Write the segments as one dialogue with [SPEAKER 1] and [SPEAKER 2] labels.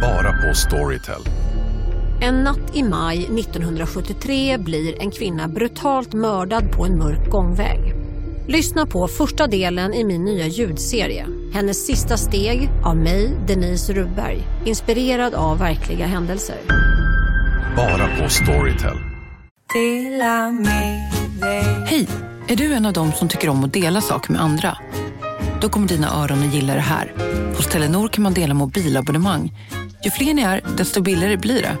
[SPEAKER 1] Bara på Storytel.
[SPEAKER 2] En natt i maj 1973 blir en kvinna brutalt mördad på en mörk gångväg. Lyssna på första delen i min nya ljudserie. Hennes sista steg av mig, Denise Rubberg. Inspirerad av verkliga händelser.
[SPEAKER 1] Bara på Storytel.
[SPEAKER 3] Hej! Är du en av dem som tycker om att dela saker med andra? Då kommer dina öron att gilla det här. Hos Telenor kan man dela mobilabonnemang. Ju fler ni är, desto billigare blir det.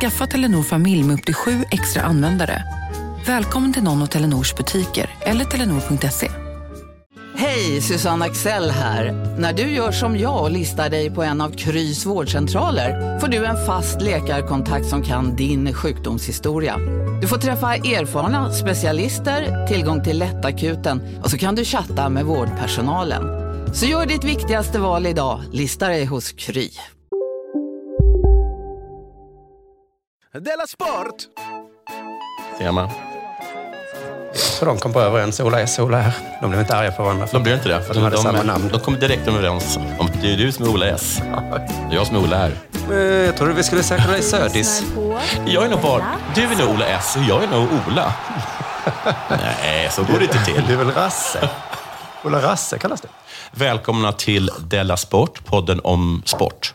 [SPEAKER 3] Skaffa Telenor familj med upp till sju extra användare. Välkommen till någon av Telenors butiker eller telenor.se.
[SPEAKER 4] Hej, Susanne Axel här. När du gör som jag och listar dig på en av Krys vårdcentraler får du en fast läkarkontakt som kan din sjukdomshistoria. Du får träffa erfarna specialister, tillgång till lättakuten och så kan du chatta med vårdpersonalen. Så gör ditt viktigaste val idag, listar dig hos Kry.
[SPEAKER 5] Della Sport!
[SPEAKER 6] Ser man.
[SPEAKER 7] Så de kom på överens. Ola är Sola här. De blev inte arga på varandra.
[SPEAKER 6] De blir inte det.
[SPEAKER 7] För de hade samma namn.
[SPEAKER 6] De kommer direkt överens. om att Det är du som är Ola S. Det är jag som är Ola R.
[SPEAKER 7] Eh, Jag trodde vi skulle säkra dig Södis.
[SPEAKER 6] Jag är nog bara... Du är nog Ola S och jag är nog Ola. Nej, så går det inte till.
[SPEAKER 7] Du är väl Rasse? Ola Rasse kallas det.
[SPEAKER 6] Välkomna till Della Sport, podden om sport.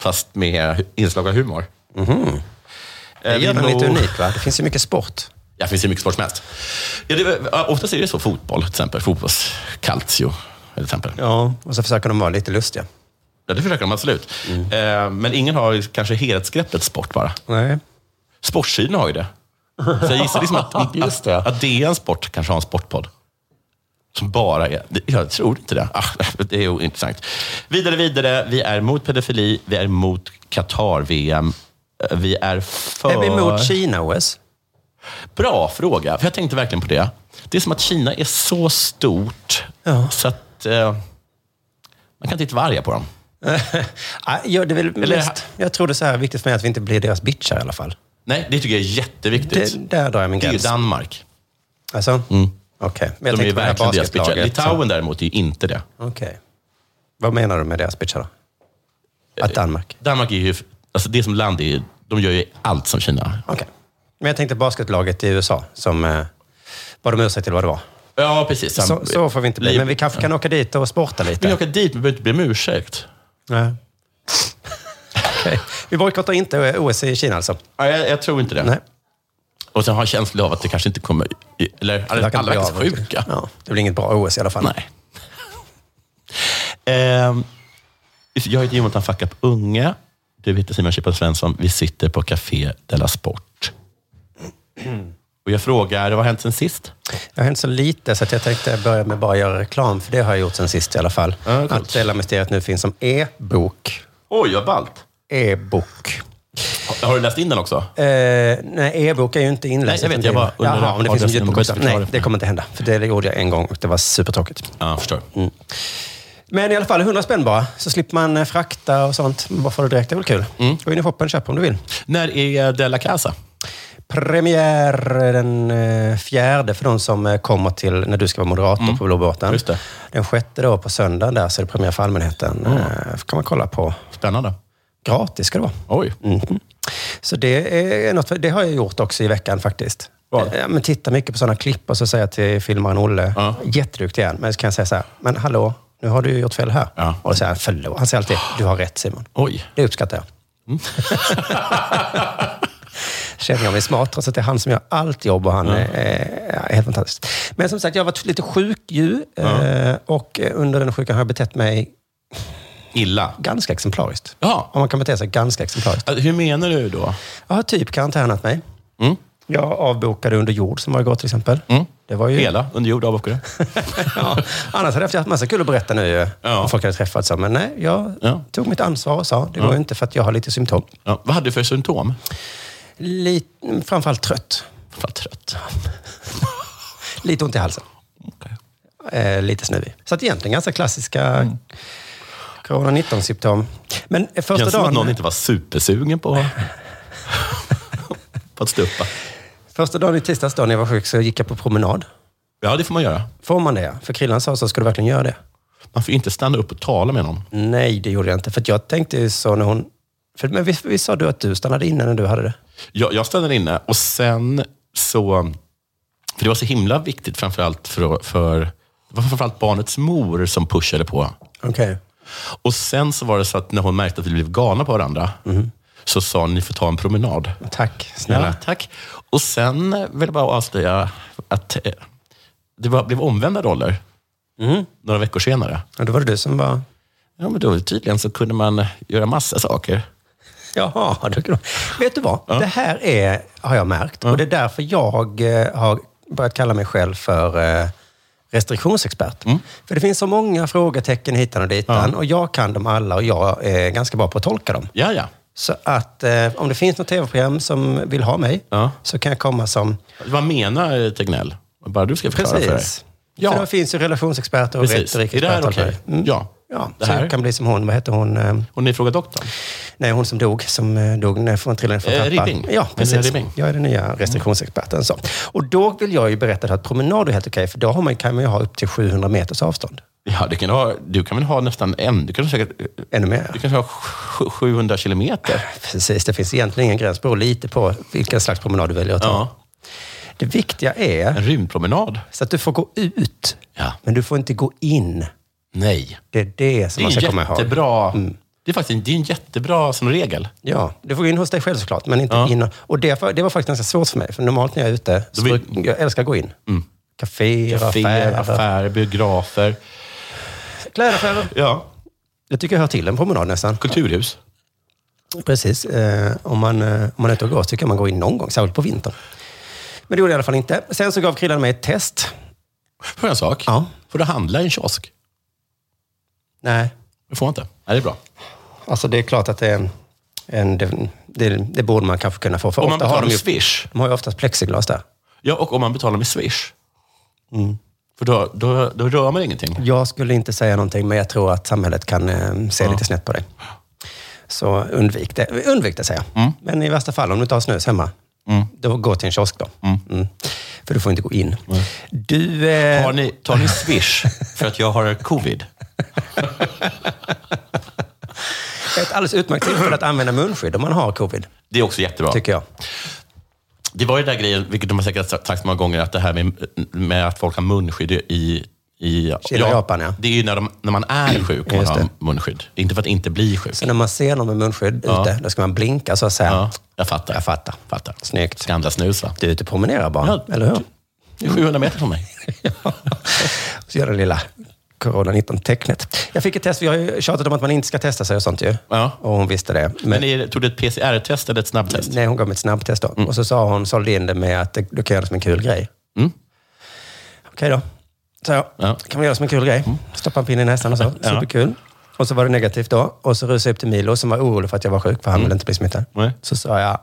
[SPEAKER 6] Fast med inslag av humor.
[SPEAKER 7] Mhm. Det
[SPEAKER 6] Eh, vi har
[SPEAKER 7] gör den
[SPEAKER 6] nog-
[SPEAKER 7] lite unik va? Det finns ju mycket sport.
[SPEAKER 6] Ja, det finns ju mycket sport som helst. Ja, det, är- ja, oftast är det så, fotboll till exempel. Fotbollskalcio. Till exempel. Ja.
[SPEAKER 7] Och så försöker de vara lite lustiga.
[SPEAKER 6] det försöker de absolut. Eh, men ingen har ju kanske helhetsgreppet sport bara.
[SPEAKER 7] Nej.
[SPEAKER 6] Sportsidan har ju det. Så jag gissar liksom att, Just det. att DN Sport kanske har en sportpodd. Som bara är... det- Jag tror inte det. Ah, det är ointressant. Vidare, vidare. Vi är mot pedofili. Vi är mot Qatar-VM. Eh, Vi är för...
[SPEAKER 7] Är vi emot Kina-OS?
[SPEAKER 6] Bra fråga, för jag tänkte verkligen på det. Det är som att Kina är så stort
[SPEAKER 7] Ja.
[SPEAKER 6] så att eh, man kan inte vara arga på dem.
[SPEAKER 7] Ah, ja, det är väl
[SPEAKER 6] Eller-
[SPEAKER 7] mest, jag tror det är så här viktigt för mig att vi inte blir deras bitchar i alla fall.
[SPEAKER 6] Nej, det tycker jag är jätteviktigt.
[SPEAKER 7] Det,
[SPEAKER 6] Det,
[SPEAKER 7] där drar jag min
[SPEAKER 6] är ju
[SPEAKER 7] gräns.
[SPEAKER 6] Danmark.
[SPEAKER 7] Alltså? Mm. Okej. Men jag
[SPEAKER 6] De är ju
[SPEAKER 7] tänkte på det här
[SPEAKER 6] verkligen deras bitchar.
[SPEAKER 7] basketlaget. så-
[SPEAKER 6] Litauen däremot är ju inte det.
[SPEAKER 7] Okej. Vad menar du med deras bitchar då?
[SPEAKER 6] Eh,
[SPEAKER 7] Att Danmark?
[SPEAKER 6] Danmark är ju... Alltså det som land är ju... De gör ju allt som Kina.
[SPEAKER 7] Okej. Men jag tänkte basketlaget i USA som eh, bad om ursäkt till vad det var.
[SPEAKER 6] Ja, precis.
[SPEAKER 7] Så, så får vi inte bli. Men vi kanske kan åka dit och sporta
[SPEAKER 6] Vi
[SPEAKER 7] lite.
[SPEAKER 6] kan åka dit, men vi behöver inte be om ursäkt.
[SPEAKER 7] Nej. Okej. Vi bojkottar inte eh, OS i Kina alltså?
[SPEAKER 6] Nej, jag, jag tror inte det.
[SPEAKER 7] Nej.
[SPEAKER 6] Och sen har jag känslan av att det kanske inte kommer... Eller, alla
[SPEAKER 7] Det verkar
[SPEAKER 6] alla
[SPEAKER 7] bli
[SPEAKER 6] verkar
[SPEAKER 7] av.
[SPEAKER 6] sjuka.
[SPEAKER 7] Ja, det blir inget bra OS i alla fall.
[SPEAKER 6] Nej. Ehm, just det, jag heter Jonathan Fuck Up Unge. Du heter Simon Chippen Svensson. Vi sitter på Café Della Sport. Och jag frågar, vad har hänt sen sist?
[SPEAKER 7] Jag har hänt så lite så att jag tänkte börja med bara göra reklam, för det har jag gjort sen sist i alla fall.
[SPEAKER 6] Ja, coolt.
[SPEAKER 7] att Della Mysteriet nu finns som e-bok.
[SPEAKER 6] Oj, vad ballt.
[SPEAKER 7] E-bok.
[SPEAKER 6] Har du läst in den också?
[SPEAKER 7] Eh, nej, e-bok är ju inte inläst.
[SPEAKER 6] Nej, jag vet, jag bara undrar
[SPEAKER 7] Jaha, om det
[SPEAKER 6] om
[SPEAKER 7] finns en
[SPEAKER 6] det finns någon
[SPEAKER 7] ljudbok också.
[SPEAKER 6] bokförklaring.
[SPEAKER 7] Nej, det kommer inte hända. För det gjorde jag en gång och det var supertråkigt.
[SPEAKER 6] Ja, jag förstår.
[SPEAKER 7] Men i alla fall, 100 spänn bara. Så slipper man eh, frakta och sånt. Man bara får det direkt. Det är väl kul?
[SPEAKER 6] Mm.
[SPEAKER 7] Gå in i shoppen och köp om du vill.
[SPEAKER 6] När är Della Casa?
[SPEAKER 7] Premiär den eh, fjärde för de som eh, kommer till när du ska vara moderator på Blå Båten.
[SPEAKER 6] Mm. Just det. Mm.
[SPEAKER 7] Den sjätte då på söndagen där så är det premiär för allmänheten. Eh, kan man kolla på.
[SPEAKER 6] Spännande.
[SPEAKER 7] Gratis ska det vara.
[SPEAKER 6] Oj.
[SPEAKER 7] Mhm. Så det, är något, det har jag gjort också i veckan faktiskt.
[SPEAKER 6] Vad?
[SPEAKER 7] Ja, men titta mycket på sådana klipp och så säga till filmaren Olle,
[SPEAKER 6] Ja.
[SPEAKER 7] jätteduktig igen, men så kan jag säga så här, men hallå, nu har du ju gjort fel här.
[SPEAKER 6] Ja.
[SPEAKER 7] Och då säger han, förlåt. Han säger alltid, du har rätt Simon.
[SPEAKER 6] Oj.
[SPEAKER 7] Det uppskattar jag.
[SPEAKER 6] Mm.
[SPEAKER 7] Känner jag mig smart trots att det är han som gör allt jobb och han är, eh, är helt fantastisk. Men som sagt, jag har varit lite sjuk ju eh, och eh, under den sjukan har jag betett mig
[SPEAKER 6] Illa.
[SPEAKER 7] ganska exemplariskt.
[SPEAKER 6] Ja.
[SPEAKER 7] Om man kan bete sig ganska exemplariskt.
[SPEAKER 6] Alltså, Hur menar du då?
[SPEAKER 7] Jag har typ karantänat mig.
[SPEAKER 6] Mm.
[SPEAKER 7] Jag avbokade under jord som var igår till exempel. Det var ju...
[SPEAKER 6] Hela, under jord, avbockade?
[SPEAKER 7] ja. Annars hade jag haft massa kul att berätta nu ju,
[SPEAKER 6] Ja.
[SPEAKER 7] om folk hade träffats. Men nej, jag
[SPEAKER 6] Ja.
[SPEAKER 7] tog mitt ansvar och sa, det går ju inte för att jag har lite symptom.
[SPEAKER 6] Ja. Vad hade du för symptom?
[SPEAKER 7] Lite, framförallt trött.
[SPEAKER 6] Fan, trött.
[SPEAKER 7] Lite ont i halsen.
[SPEAKER 6] Okej.
[SPEAKER 7] Eh, lite snuvig. Så att egentligen ganska klassiska
[SPEAKER 6] Mm.
[SPEAKER 7] corona-19-symptom. Men första
[SPEAKER 6] Känns som att
[SPEAKER 7] dagen...
[SPEAKER 6] någon inte var supersugen på, på att stuppa.
[SPEAKER 7] Första dagen i tisdags, då när jag var sjuk, så gick jag på promenad.
[SPEAKER 6] Ja, det får man göra.
[SPEAKER 7] Får man det? För Krillan sa så, ska du verkligen göra det?
[SPEAKER 6] Man får ju inte stanna upp och tala med någon.
[SPEAKER 7] Nej, det gjorde jag inte. För att jag tänkte ju så när hon... För, men visst, visst sa du att du stannade inne när du hade det?
[SPEAKER 6] Jag, jag stannade inne och sen så... För det var så himla viktigt framförallt för, för... Det var framförallt barnets mor som pushade på.
[SPEAKER 7] Okej.
[SPEAKER 6] Och sen så var det så att när hon märkte att vi blev galna på varandra, så sa hon, ni får ta en promenad.
[SPEAKER 7] Tack,
[SPEAKER 6] Mm. Ja,
[SPEAKER 7] snälla.
[SPEAKER 6] tack. Och sen vill jag bara avslöja att eh, det var, blev omvända roller några veckor senare.
[SPEAKER 7] Ja. Då var det du som var...
[SPEAKER 6] Mm. Ja, men då tydligen så kunde man göra massa saker.
[SPEAKER 7] Jaha, då kan du... Vet du vad? Det här är, har jag märkt. Och det är därför jag eh, har börjat kalla mig själv för eh, restriktionsexpert.
[SPEAKER 6] Mm.
[SPEAKER 7] För det finns så många frågetecken hitan och ditan. Och jag kan dem alla och jag är ganska bra på att tolka dem.
[SPEAKER 6] Ja, ja.
[SPEAKER 7] Så att eh, om det finns något tv-program som vill ha mig
[SPEAKER 6] Ja.
[SPEAKER 7] så kan jag komma som...
[SPEAKER 6] Vad menar eh, Tegnell? Bara du ska förklara för dig.
[SPEAKER 7] Precis.
[SPEAKER 6] Ja.
[SPEAKER 7] För det finns ju relationsexperter och
[SPEAKER 6] Precis. Är det
[SPEAKER 7] retorikexperter.
[SPEAKER 6] här
[SPEAKER 7] och allt
[SPEAKER 6] okej?
[SPEAKER 7] vad det är. Mm.
[SPEAKER 6] Ja.
[SPEAKER 7] ja.
[SPEAKER 6] Det
[SPEAKER 7] så
[SPEAKER 6] här.
[SPEAKER 7] jag kan bli som hon, vad hette hon? eh,
[SPEAKER 6] Och ni frågar doktorn?
[SPEAKER 7] Nej, hon som dog, som eh, dog när hon trillade från
[SPEAKER 6] Eh,
[SPEAKER 7] trappan.
[SPEAKER 6] Ribbing.
[SPEAKER 7] Ja,
[SPEAKER 6] Den nya
[SPEAKER 7] precis.
[SPEAKER 6] Ribbing. Mm.
[SPEAKER 7] Jag är den nya restriktionsexperten. Så. Och då vill jag ju berätta att promenad är helt okej, för då har man, kan man ju ha upp till 700 meters avstånd.
[SPEAKER 6] Ja, du kan, ha, du kan väl ha nästan en... Du kan säkert...
[SPEAKER 7] Ännu mer.
[SPEAKER 6] Du kanske har sju- 700 kilometer.
[SPEAKER 7] Precis, det finns egentligen ingen gräns. Det beror lite på vilken slags promenad du väljer att ta.
[SPEAKER 6] Ja.
[SPEAKER 7] Det viktiga är
[SPEAKER 6] En rymdpromenad.
[SPEAKER 7] så att du får gå ut,
[SPEAKER 6] Ja.
[SPEAKER 7] men du får inte gå in.
[SPEAKER 6] Nej.
[SPEAKER 7] Det är det som
[SPEAKER 6] Det är
[SPEAKER 7] man ska
[SPEAKER 6] en
[SPEAKER 7] komma ihåg. Mm.
[SPEAKER 6] jättebra... Det är faktiskt en, det är en jättebra som regel.
[SPEAKER 7] Ja, du får gå in hos dig själv såklart, men inte in. och- Och det, var- det var faktiskt ganska svårt för mig, för normalt när jag är ute, så
[SPEAKER 6] Då vill-
[SPEAKER 7] brukar- jag älskar att gå in. Caféer,
[SPEAKER 6] Affärer,
[SPEAKER 7] affärer,
[SPEAKER 6] affärer, biografer.
[SPEAKER 7] klädaffärer.
[SPEAKER 6] Ja.
[SPEAKER 7] Jag tycker jag hör till en promenad nästan.
[SPEAKER 6] Kulturhus.
[SPEAKER 7] Precis. Eh, om, man, eh, om man är ute och går så tycker jag man går in någon gång, särskilt på vintern. Men det gjorde jag i alla fall inte. Sen så gav Krillan mig ett test.
[SPEAKER 6] Får jag en sak?
[SPEAKER 7] Ja.
[SPEAKER 6] Får du handla i en kiosk?
[SPEAKER 7] Nej,
[SPEAKER 6] Det får man inte. Nej, det är bra.
[SPEAKER 7] alltså det är klart att det är en... en det, det, det borde man kanske kunna få. För
[SPEAKER 6] Om man
[SPEAKER 7] ofta har
[SPEAKER 6] betalar
[SPEAKER 7] de,
[SPEAKER 6] med
[SPEAKER 7] ju,
[SPEAKER 6] Swish.
[SPEAKER 7] de har ju oftast plexiglas där.
[SPEAKER 6] Ja, och om man betalar med Swish.
[SPEAKER 7] Mm.
[SPEAKER 6] För då, då, då rör man ingenting.
[SPEAKER 7] Jag skulle inte säga någonting, men jag tror att samhället kan eh, se lite snett på det. Så undvik det, undvik det säger jag.
[SPEAKER 6] Mm.
[SPEAKER 7] Men i värsta fall, om du inte har snus hemma, då gå till en kiosk då. Mm. För du får inte gå in. Du... eh,
[SPEAKER 6] Har ni, tar ni Swish för att jag har covid?
[SPEAKER 7] Ett alldeles utmärkt tillfälle att använda munskydd om man har covid,
[SPEAKER 6] Det är också jättebra.
[SPEAKER 7] tycker jag.
[SPEAKER 6] Det var ju den där grejen, vilket de har säkert sagt många gånger, att det här med, med att folk har munskydd i i
[SPEAKER 7] Kina och Japan, ja.
[SPEAKER 6] Det är ju när, de, när man är sjuk man
[SPEAKER 7] Just
[SPEAKER 6] har
[SPEAKER 7] det.
[SPEAKER 6] munskydd. Inte för att inte bli sjuk.
[SPEAKER 7] Så när man ser någon med munskydd ute, då ska man blinka så att säga.
[SPEAKER 6] Ja, jag fattar.
[SPEAKER 7] Jag fattar.
[SPEAKER 6] fattar.
[SPEAKER 7] Snyggt.
[SPEAKER 6] Ska andra snus, va?
[SPEAKER 7] Du är ute och promenerar bara,
[SPEAKER 6] Ja.
[SPEAKER 7] eller hur?
[SPEAKER 6] Det är 700 meter från mig.
[SPEAKER 7] Så gör det lilla corona-19-tecknet. Jag fick ett test, vi har ju tjatat om att man inte ska testa sig och sånt ju.
[SPEAKER 6] Ja.
[SPEAKER 7] Och hon visste det. Men,
[SPEAKER 6] Men är, det- tog du ett PCR-test eller ett snabbtest?
[SPEAKER 7] nej, hon gav mig ett snabbtest då. Och så sa hon, sålde in det med att det- du kan göra det som en kul grej.
[SPEAKER 6] Mm.
[SPEAKER 7] Okej då. Så jag,
[SPEAKER 6] Ja. Mm.
[SPEAKER 7] kan vi göra det som en kul grej? Stoppa en pinne i näsan och så. Superkul. Och så var det negativt då. Och så rusade jag upp till Milo som var orolig för att jag var sjuk, för han ville inte bli smittad.
[SPEAKER 6] Mm. Nej.
[SPEAKER 7] Så sa jag,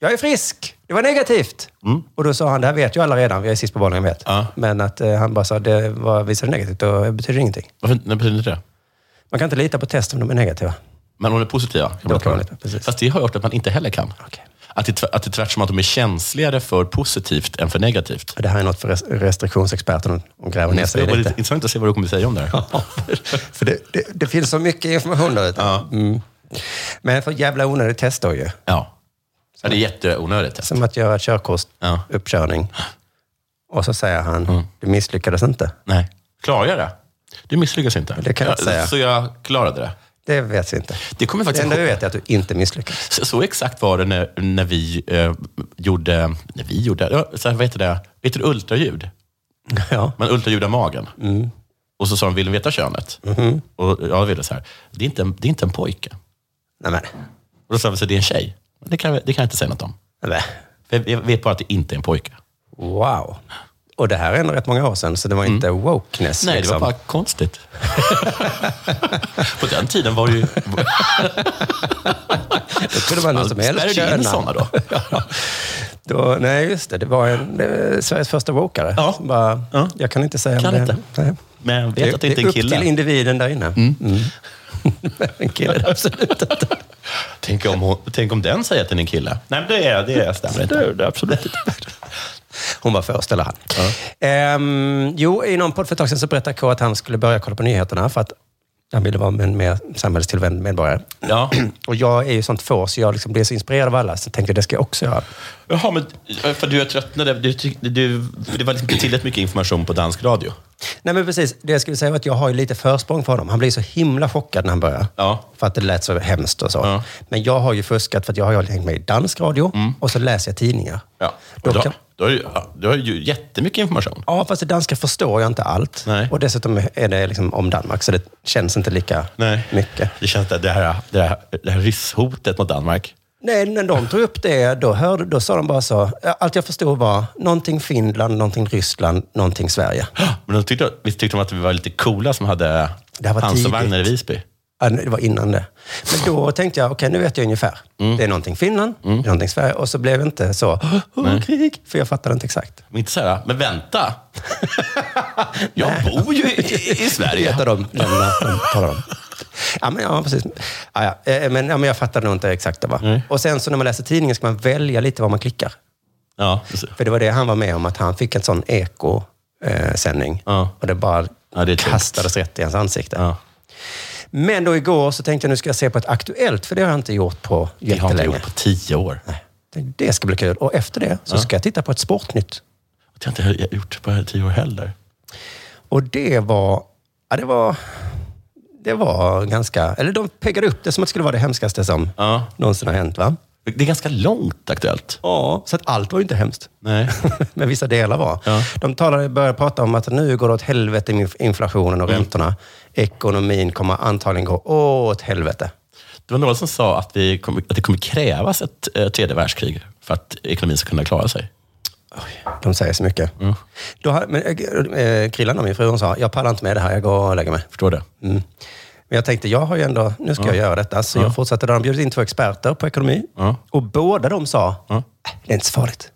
[SPEAKER 7] jag är frisk! Det var negativt! Och då sa han, det här vet ju alla redan, jag är sist på bollen, jag vet.
[SPEAKER 6] Mm. Ja.
[SPEAKER 7] Men att eh, han bara sa, det var, visade negativt, då betyder det ingenting.
[SPEAKER 6] Varför nej, betyder inte det?
[SPEAKER 7] Man kan inte lita på test om de är negativa.
[SPEAKER 6] Men om de är positiva? Kan
[SPEAKER 7] Då kan man
[SPEAKER 6] det.
[SPEAKER 7] lite, precis.
[SPEAKER 6] Fast det har jag hört att man inte heller kan.
[SPEAKER 7] Okej.
[SPEAKER 6] Att, det, tv- att det är tvärtom att de är känsligare för positivt än för negativt.
[SPEAKER 7] Det här är något för res- restriktionsexperterna att gräva ner sig i
[SPEAKER 6] Mm, det var
[SPEAKER 7] lite.
[SPEAKER 6] lite intressant att se vad du kommer säga om det här.
[SPEAKER 7] för det, det, det finns så mycket information där ute. Mm. Men för jävla onödigt test då ju.
[SPEAKER 6] Ja. ja. Det är jätteonödigt.
[SPEAKER 7] Som att göra ett
[SPEAKER 6] Ja. Mm.
[SPEAKER 7] körkortsuppkörning. Och så säger han, du misslyckades inte.
[SPEAKER 6] Nej. Klarar jag det? Du misslyckas inte.
[SPEAKER 7] Det kan jag inte säga.
[SPEAKER 6] Så jag klarade det.
[SPEAKER 7] Det vet vi inte.
[SPEAKER 6] Det kommer jag
[SPEAKER 7] Det
[SPEAKER 6] faktiskt
[SPEAKER 7] enda vi
[SPEAKER 6] ihåg.
[SPEAKER 7] vet är att du inte misslyckades.
[SPEAKER 6] Så, så exakt var det när, när vi eh, gjorde... När vi gjorde... ja, Så här, vad heter det? Heter det ultraljud?
[SPEAKER 7] Ja.
[SPEAKER 6] Man ultraljudar magen.
[SPEAKER 7] Mm.
[SPEAKER 6] Och så sa de, vill du veta könet?
[SPEAKER 7] Mhm.
[SPEAKER 6] Och jag ville så här, det är, inte en, det är inte en pojke.
[SPEAKER 7] Nej, men.
[SPEAKER 6] Och då sa vi, så det är en tjej. Men Det kan, jag- det kan jag inte säga något om.
[SPEAKER 7] Nej, men.
[SPEAKER 6] För jag- jag vet bara att det inte är en pojke.
[SPEAKER 7] Wow. Och det här är ändå rätt många år sedan, så det var inte wokeness.
[SPEAKER 6] Mm. Nej, det
[SPEAKER 7] liksom.
[SPEAKER 6] var bara konstigt. På den tiden var det ju...
[SPEAKER 7] Då kunde man hur som helst
[SPEAKER 6] Spärrade in
[SPEAKER 7] köna.
[SPEAKER 6] sådana då?
[SPEAKER 7] ja. då. Nej, just det. Det var en, eh, Sveriges första wokare.
[SPEAKER 6] Ja.
[SPEAKER 7] som Bara,
[SPEAKER 6] Ja.
[SPEAKER 7] Jag kan inte säga
[SPEAKER 6] Kan
[SPEAKER 7] om det.
[SPEAKER 6] inte.
[SPEAKER 7] Nej.
[SPEAKER 6] Men jag vet att det inte är
[SPEAKER 7] är
[SPEAKER 6] en
[SPEAKER 7] upp
[SPEAKER 6] kille.
[SPEAKER 7] till individen där inne. Mm. Men en kille är det absolut inte.
[SPEAKER 6] Tänk om, hon, tänk om den säger att den är en kille. Nej, men det, är, det är, stämmer inte. Det, absolut inte.
[SPEAKER 7] Hon var först, eller han. Ehm, jo, i någon podd för ett tag sedan så berättade K att han skulle börja kolla på nyheterna för att han ville vara en mer samhällstillvänd medborgare.
[SPEAKER 6] Ja.
[SPEAKER 7] Och jag är ju sånt få, så jag liksom blir så inspirerad av alla, så tänkte jag det ska jag också göra.
[SPEAKER 6] Jaha, men för du jag tröttnade. Du, tyck- du, det var liksom inte tillräckligt mycket information på dansk radio.
[SPEAKER 7] Nej men precis, det jag skulle säga var att jag har ju lite försprång för honom. Han blir så himla chockad när han börjar.
[SPEAKER 6] Ja.
[SPEAKER 7] För att det lät så hemskt och så.
[SPEAKER 6] Ja. Mm.
[SPEAKER 7] Men jag har ju fuskat för att jag har ju hängt med i dansk radio och så läser jag tidningar.
[SPEAKER 6] Ja.
[SPEAKER 7] Då
[SPEAKER 6] Då,
[SPEAKER 7] kan-
[SPEAKER 6] då, har du, ja, du har ju jättemycket information.
[SPEAKER 7] Ja, fast det danska förstår jag inte allt.
[SPEAKER 6] Nej.
[SPEAKER 7] Och dessutom är det liksom om Danmark, så det känns inte lika mycket.
[SPEAKER 6] Det känns det, det här, det här, det här rysshotet mot Danmark.
[SPEAKER 7] Nej, när de tog upp det, då, hörde, då sa de bara så. Allt jag förstod var någonting Finland, någonting Ryssland, någonting Sverige.
[SPEAKER 6] Men de tyckte, visst tyckte de att vi var lite coola som hade
[SPEAKER 7] Det här var
[SPEAKER 6] pansarvagnar i
[SPEAKER 7] tidigt.
[SPEAKER 6] Visby?
[SPEAKER 7] Ja, Det var innan det. Men då tänkte jag, okej, nu vet jag ungefär. Det är någonting Finland, det är någonting Sverige. Och så blev det inte så, "Åh, åh, krig, för jag fattade inte exakt.
[SPEAKER 6] Men inte så här, men vänta. Jag bor ju i, i- i
[SPEAKER 7] Det är
[SPEAKER 6] Sverige.
[SPEAKER 7] ett av de länderna de talar om. Ja, men, ja, precis. Ja, ja. Eh, Men, ja, men jag fattade nog inte exakt. Det, va? Och sen så när man läser tidningen ska man välja lite vad man klickar.
[SPEAKER 6] Ja,
[SPEAKER 7] För det var det han var med om, att han fick en sån eko-sändning.
[SPEAKER 6] Ja.
[SPEAKER 7] Och det bara
[SPEAKER 6] Ja, det är tungt.
[SPEAKER 7] kastades rätt i hans ansikte.
[SPEAKER 6] Ja.
[SPEAKER 7] Men då igår så tänkte jag nu ska jag se på ett Aktuellt, för det har jag inte gjort på
[SPEAKER 6] det har jag inte
[SPEAKER 7] jättelänge.
[SPEAKER 6] gjort på tio år.
[SPEAKER 7] Det ska bli kul. Och efter det så ska jag titta på ett Sportnytt.
[SPEAKER 6] Det har jag inte gjort på tio år heller.
[SPEAKER 7] Och det var... Ja, det var... Det var ganska... Eller de peggade upp det som att det skulle vara det hemskaste som
[SPEAKER 6] Ja.
[SPEAKER 7] någonsin har hänt. Va?
[SPEAKER 6] Det är ganska långt aktuellt.
[SPEAKER 7] Ja. Så att allt var ju inte hemskt.
[SPEAKER 6] Nej.
[SPEAKER 7] Men vissa delar var. De talade, började prata om att nu går det åt helvete med inflationen och räntorna. Ekonomin kommer antagligen gå åt helvete.
[SPEAKER 6] Det var några som sa att, vi kommer- att det kommer krävas ett eh, tredje världskrig för att ekonomin ska kunna klara sig.
[SPEAKER 7] De säger så mycket.
[SPEAKER 6] Mm.
[SPEAKER 7] Då, har- men, eh, eh, Krillan och min fru hon sa, jag pallar inte med det här, jag går och lägger mig.
[SPEAKER 6] Förstår du?
[SPEAKER 7] Mm. Men jag tänkte, jag har ju ändå, nu ska jag göra detta. Så jag fortsatte. Då har de bjudit in två experter på ekonomi.
[SPEAKER 6] Ja.
[SPEAKER 7] Och båda de sa,
[SPEAKER 6] Ja.
[SPEAKER 7] "Äh, det är inte så farligt.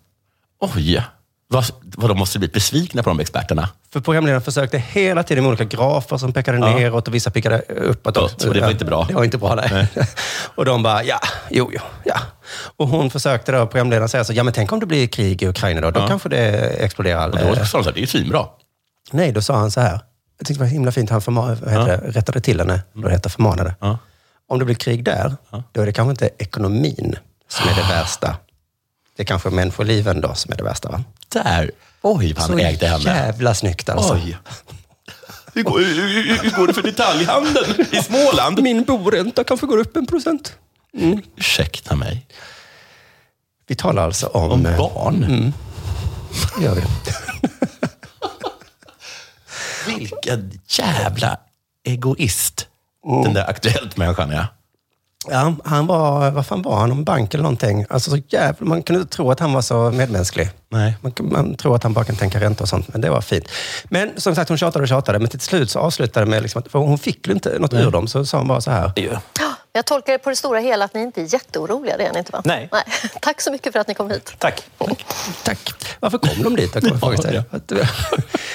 [SPEAKER 6] Oj! Vad, vad de måste bli besvikna på de experterna.
[SPEAKER 7] För programledaren försökte hela tiden med olika grafer som pekade neråt och vissa pekade uppåt.
[SPEAKER 6] Uppåt, och det var inte bra.
[SPEAKER 7] Det var inte bra, nej. och de bara, ja, jo, jo, ja. Och hon försökte då, programledaren säga så, ja men tänk om det blir krig i Ukraina då, då kanske det exploderar. eh,
[SPEAKER 6] Och då sa de så här, det är ju svinbra.
[SPEAKER 7] Nej, då sa han så här. Jag tyckte det var himla fint. Han förma- vad heter det, rättade till henne. Då hette förmanade.
[SPEAKER 6] Ja.
[SPEAKER 7] Om det blir krig där, då är det kanske inte ekonomin som är det värsta. Det är kanske människoliven då som är det värsta. Va?
[SPEAKER 6] Där! Oj, vad han ägde henne.
[SPEAKER 7] jävla snyggt alltså.
[SPEAKER 6] Oj. Hur går, hur, hur, hur går det för detaljhandeln i Småland?
[SPEAKER 7] Min boränta kanske går upp en procent.
[SPEAKER 6] Ursäkta mig.
[SPEAKER 7] Vi talar alltså om...
[SPEAKER 6] Om barn?
[SPEAKER 7] eh, gör vi.
[SPEAKER 6] Vilken jävla egoist den där Aktuellt-människan är.
[SPEAKER 7] Ja, han var, vad fan var han, om bank eller någonting? Alltså så jävla, man kunde inte tro att han var så medmänsklig.
[SPEAKER 6] Nej.
[SPEAKER 7] Man, kan- man tror att han bara kan tänka ränta och sånt, men det var fint. Men som sagt, hon tjatade och tjatade, men till slut så avslutade det med, liksom, att- för hon fick väl inte något ur dem, så sa hon bara så här.
[SPEAKER 8] Jag tolkar det på det stora hela att ni inte är jätteoroliga, det är ni inte va?
[SPEAKER 9] Nej.
[SPEAKER 8] Tack så mycket för att ni kom hit.
[SPEAKER 9] Tack.
[SPEAKER 7] Tack. Varför kom de dit? Jag kommer fråga sig.
[SPEAKER 6] Ja,
[SPEAKER 7] Att- Det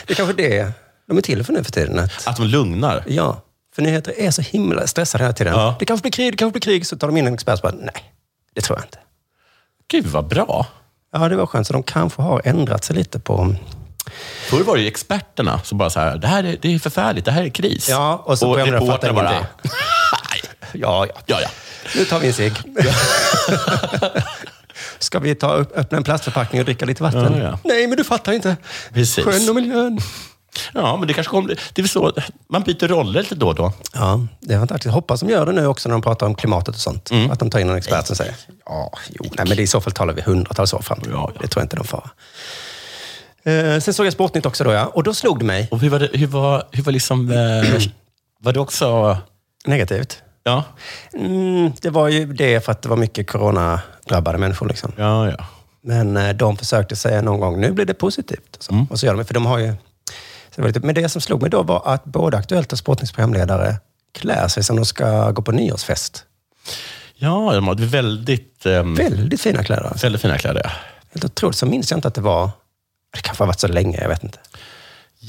[SPEAKER 7] är kanske det de är till för nu för tiden. Att,
[SPEAKER 6] Att de lugnar.
[SPEAKER 7] ja, för nyheter är så himla stressade hela tiden.
[SPEAKER 6] Ja.
[SPEAKER 7] Det kanske blir krig, det kanske blir krig. Så tar de in en expert och bara, nej, det tror jag inte.
[SPEAKER 6] Gud, vad bra.
[SPEAKER 7] Ja, det var skönt. Så de kanske har ändrat sig lite på...
[SPEAKER 6] Förr var det ju experterna som bara så här, det här är, det är förfärligt, det här är kris.
[SPEAKER 7] Ja, och så programledaren
[SPEAKER 6] reportern
[SPEAKER 7] fattar
[SPEAKER 6] bara,
[SPEAKER 7] ingenting.
[SPEAKER 6] nej,
[SPEAKER 7] Ja, ja.
[SPEAKER 6] ja, ja.
[SPEAKER 7] Nu tar vi en cigg. Ska vi ta, upp- öppna en plastförpackning och dricka lite vatten?
[SPEAKER 6] Ja, ja.
[SPEAKER 7] Nej, men du fattar inte.
[SPEAKER 6] Precis.
[SPEAKER 7] Sjön och miljön.
[SPEAKER 6] Ja, men det kanske kommer, det är väl så, man byter roller lite då och då.
[SPEAKER 7] Ja, det är fantastiskt. Hoppas de gör det nu också när de pratar om klimatet och sånt. Att de tar in en expert som säger, ja, jo, nej, men det i så fall talar vi hundratals år framåt.
[SPEAKER 6] Ja, ja.
[SPEAKER 7] Det tror jag inte de får. Eh, sen såg jag Sportnytt också då, ja. Och då slog det mig
[SPEAKER 6] Och hur var, det, hur var, hur var liksom, eh, var det också,
[SPEAKER 7] negativt.
[SPEAKER 6] ja,
[SPEAKER 7] Mm, det var ju det för att det var mycket coronadrabbade människor. Liksom.
[SPEAKER 6] ja, ja.
[SPEAKER 7] Men eh, de försökte säga någon gång, nu blir det positivt. Så. Och så gör de det, för de har ju... Så det var lite, men det som slog mig då var att både Aktuellt och Sportnytts programledare klär sig som de ska gå på nyårsfest.
[SPEAKER 6] Ja, de hade väldigt, ehm,
[SPEAKER 7] Väldigt fina kläder. Alltså.
[SPEAKER 6] väldigt fina kläder. ja.
[SPEAKER 7] Helt otroligt. Så minns jag inte att det var... Det kanske har varit så länge, jag vet inte.